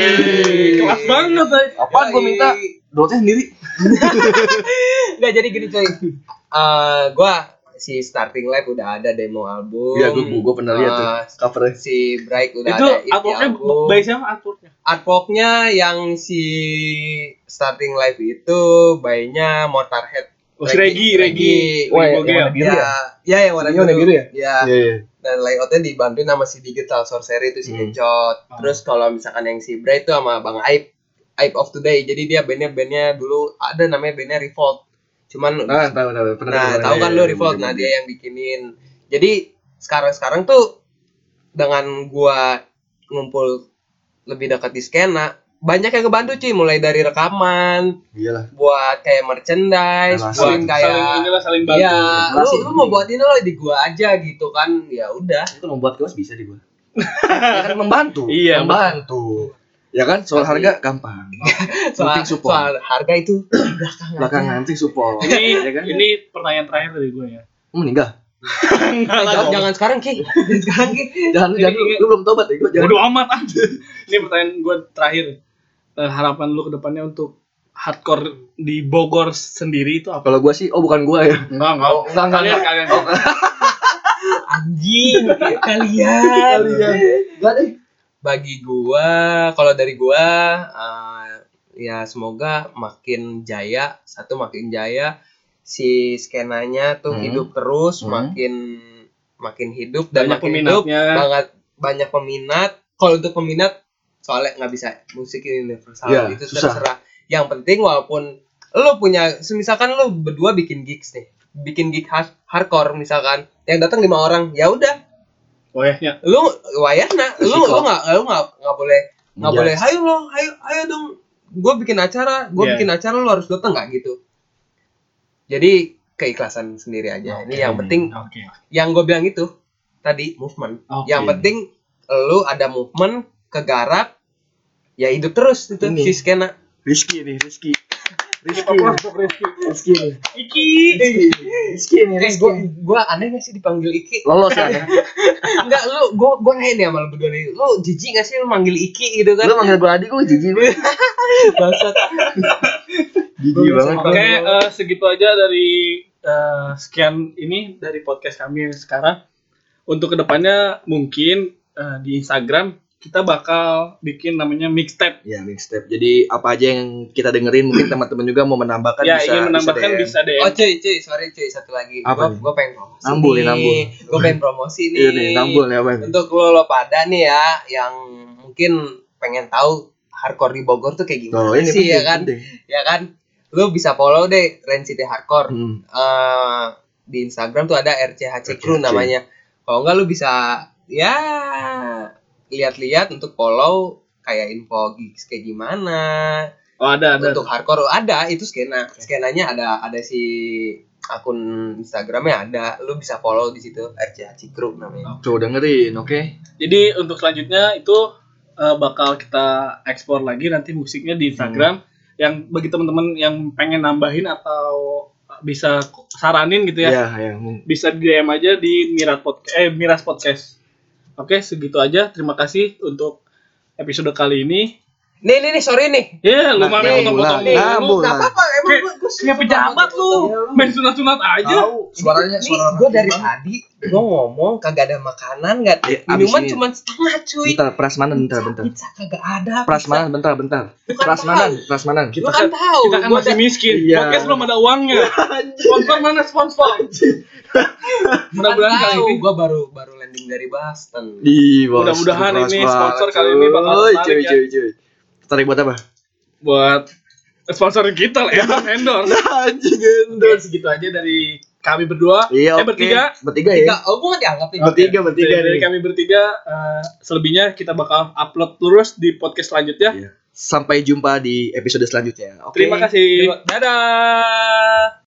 S1: kelas banget eh.
S2: Apaan gue minta
S3: Yoi.
S2: downloadnya sendiri
S3: Nggak jadi gini coy. Eh gua si starting live udah ada demo album.
S2: Iya, gua- gua pernah lihat tuh.
S3: Eh,
S2: covernya
S3: Si Bright udah
S1: itu
S3: ada EP
S1: artworknya
S3: album.
S1: by siapa artworknya
S3: Artworknya yang si starting live itu by-nya Motorhead.
S1: oh, si Regi Regi
S2: Wah,
S1: Regi Bogel.
S2: yang ada biru
S3: Ya,
S2: ya?
S3: ya yang warna
S2: Ini warna biru ya?
S3: Iya.
S2: Iya, iya.
S3: Dan layoutnya dibantuin sama si Digital Sorcery itu si
S2: Hmm.
S3: Kencot.
S1: Ah.
S3: Terus kalau misalkan yang si Bright itu sama Bang Aib. Aib of Today. Jadi dia bandnya bandnya dulu ada namanya bandnya Revolt. Cuman
S2: Ah, tahu tahu. Pernah
S3: Nah,
S2: dengar.
S3: tahu kan
S2: Iya,
S3: lu
S2: iya,
S3: revolt
S2: iya,
S3: nah
S2: iya.
S3: dia yang bikinin. Jadi sekarang-sekarang tuh dengan gua ngumpul lebih dekat di skena banyak yang ngebantu cuy mulai dari rekaman
S2: iyalah
S3: buat kayak merchandise
S2: Relasi.
S3: buat
S2: Saling- Iya.
S3: kayak
S1: saling inilah saling bantu
S3: ya lu,
S2: Relasi.
S3: lu mau buat ini lo di gua aja gitu kan ya udah
S2: itu membuat kelas bisa di gua ya kan membantu
S1: Iya,
S2: membantu ya kan soal
S3: Tapi-
S2: harga gampang
S3: soal,
S2: Penting support.
S3: soal harga itu belakangan
S2: belakangan nanti support
S1: ini
S2: ya kan
S1: ini pertanyaan terakhir dari gue ya
S2: meninggal
S1: Enggak lah,
S3: jangan,
S1: dong.
S3: jangan sekarang ki Jangan sekarang ki
S2: jangan
S1: Ini-
S2: jangan lu,
S1: ini-
S2: lu belum tobat ya gua jangan
S1: bodoh amat aja ini pertanyaan gue terakhir Eh, harapan lu ke depannya untuk hardcore di Bogor sendiri itu apa
S2: kalau gua sih oh bukan gua ya
S1: enggak enggak
S2: Oh, enggak, enggak,
S1: kalian kalian
S3: anjing kalian
S2: enggak deh
S3: bagi gua kalau dari gua eh, ya semoga makin jaya satu makin jaya si skenanya tuh
S2: Hmm.
S3: hidup terus
S2: Hmm. kan?
S3: makin makin hidup dan
S1: Banyak
S3: makin
S1: peminatnya.
S3: hidup banget banyak peminat kalau untuk peminat soalnya nggak bisa musik universal
S2: Ya,
S3: itu
S2: susah.
S3: terserah yang penting walaupun lu punya misalkan lu berdua bikin gigs nih bikin gig hard- hardcore misalkan yang datang lima orang ya udah
S1: oh ya, ya.
S3: lu wayana lu lu nggak lu nggak nggak boleh nggak
S2: Iya.
S3: boleh ayo lo ayo ayo dong gue bikin acara gue
S1: Iya.
S3: bikin acara lu harus datang nggak gitu jadi keikhlasan sendiri aja ini yang penting
S1: oke
S3: yang gue bilang itu tadi movement
S1: Oke.
S3: yang penting lu ada movement kegarap ya hidup terus itu
S2: Ini.
S3: si skena
S2: Rizky nih Rizky Rizky Rizky nih
S1: Iki
S2: Rizky nih
S3: Eh,
S2: Rizky
S3: gue gue aneh gak sih dipanggil Iki?
S2: lolos kan ya
S3: Enggak, lu gue gue nanya nih sama lu berdua nih. Lu jijik gak sih lu manggil Iki gitu kan?
S2: lu manggil gua adik gua jijik gua.
S3: Bangsat.
S2: jijik banget
S1: Oke, eh, segitu aja dari eh, sekian ini dari podcast kami yang sekarang. Untuk kedepannya mungkin eh, di Instagram kita bakal bikin namanya mixtape.
S2: Ya mixtape. Jadi apa aja yang kita dengerin mungkin teman-teman juga mau menambahkan
S1: ya,
S2: Kan bisa
S1: ingin menambahkan
S2: DM.
S1: bisa DM.
S3: Oh cuy cuy sorry cuy satu lagi
S2: Apa
S3: Gua
S2: nih?
S3: gue pengen promosi
S2: Nambul nih, nambul.
S3: Gue pengen promosi nih
S2: Iya nih, nambul nih apa nih?
S3: Untuk lo, lo pada nih ya Yang mungkin pengen tahu Hardcore di Bogor tuh kayak gimana
S2: Tuh, Oh, ini
S3: sih
S2: penting,
S3: ya kan
S2: penting.
S3: Ya kan Lo bisa follow deh Rain City Hardcore
S2: Hmm.
S3: Eh, Di Instagram tuh ada RCHC Crew
S2: RCHC.
S3: namanya Kalau enggak lo bisa Ya Lihat-lihat untuk follow Kayak info gigs kayak gimana
S1: Oh, ada ada.
S3: untuk hardcore ada itu skena skenanya ada ada si akun Instagramnya ada lu bisa follow di situ RCH Cikru namanya
S2: Tuh dengerin, oke?
S1: Jadi untuk selanjutnya itu eh, bakal kita ekspor lagi nanti musiknya di Instagram. Yang bagi teman-teman yang pengen nambahin atau bisa saranin gitu ya.
S2: Ya, ya. mungkin.
S1: bisa di DM aja di Miras Podcast. Eh, Miras Podcast. Oke, segitu aja. Terima kasih untuk episode kali ini.
S3: nih nih nih sorry nih
S1: Ya, lu
S2: Nah,
S1: mah
S2: eh,
S1: main potong-potong
S2: ulang.
S1: mulu.
S2: Nah,
S1: Lu
S2: bu- Ambulan.
S3: apa apa emang
S1: Kayak-
S3: gua gua suka
S1: Kayak pejabat
S3: banget.
S1: lu. Main sunat-sunat aja.
S2: suaranya
S3: nih,
S2: suara
S3: gue dari tadi gue ngomong kagak ada makanan nggak
S2: Eh, abis
S3: minuman
S2: ini-
S3: cuma setengah cuy
S2: Bentar, prasmanan bentar, bentar.
S3: pizza kagak ada
S2: Prasmanan bentar, bentar. Prasmanan, prasmanan.
S3: Kita kan tahu.
S1: Kita kan
S3: Gua
S1: masih
S3: ada-
S1: miskin.
S2: Iya.
S1: Podcast belum ada uangnya. Sponsor mana sponsor? Mudah-mudahan kali ini
S3: gue baru baru landing dari Boston
S2: Di
S1: Mudah-mudahan ini sponsor kali ini bakal tertarik
S2: cuy,
S1: ya.
S2: cuy, cuy. Tertarik buat apa?
S1: buat sponsor kita lah ya, endorse.
S2: Anjing
S1: Oke, segitu aja dari kami berdua. eh,
S2: Iya, oke.
S1: bertiga.
S2: Bertiga ya.
S3: Tiga, oh gue nggak dianggap nih
S2: Bertiga, bertiga
S1: dari, dari
S2: nih.
S1: kami bertiga eh, selebihnya kita bakal upload terus di podcast selanjutnya.
S2: Iya. Sampai jumpa di episode selanjutnya. Oke.
S1: Terima kasih.
S3: Dadah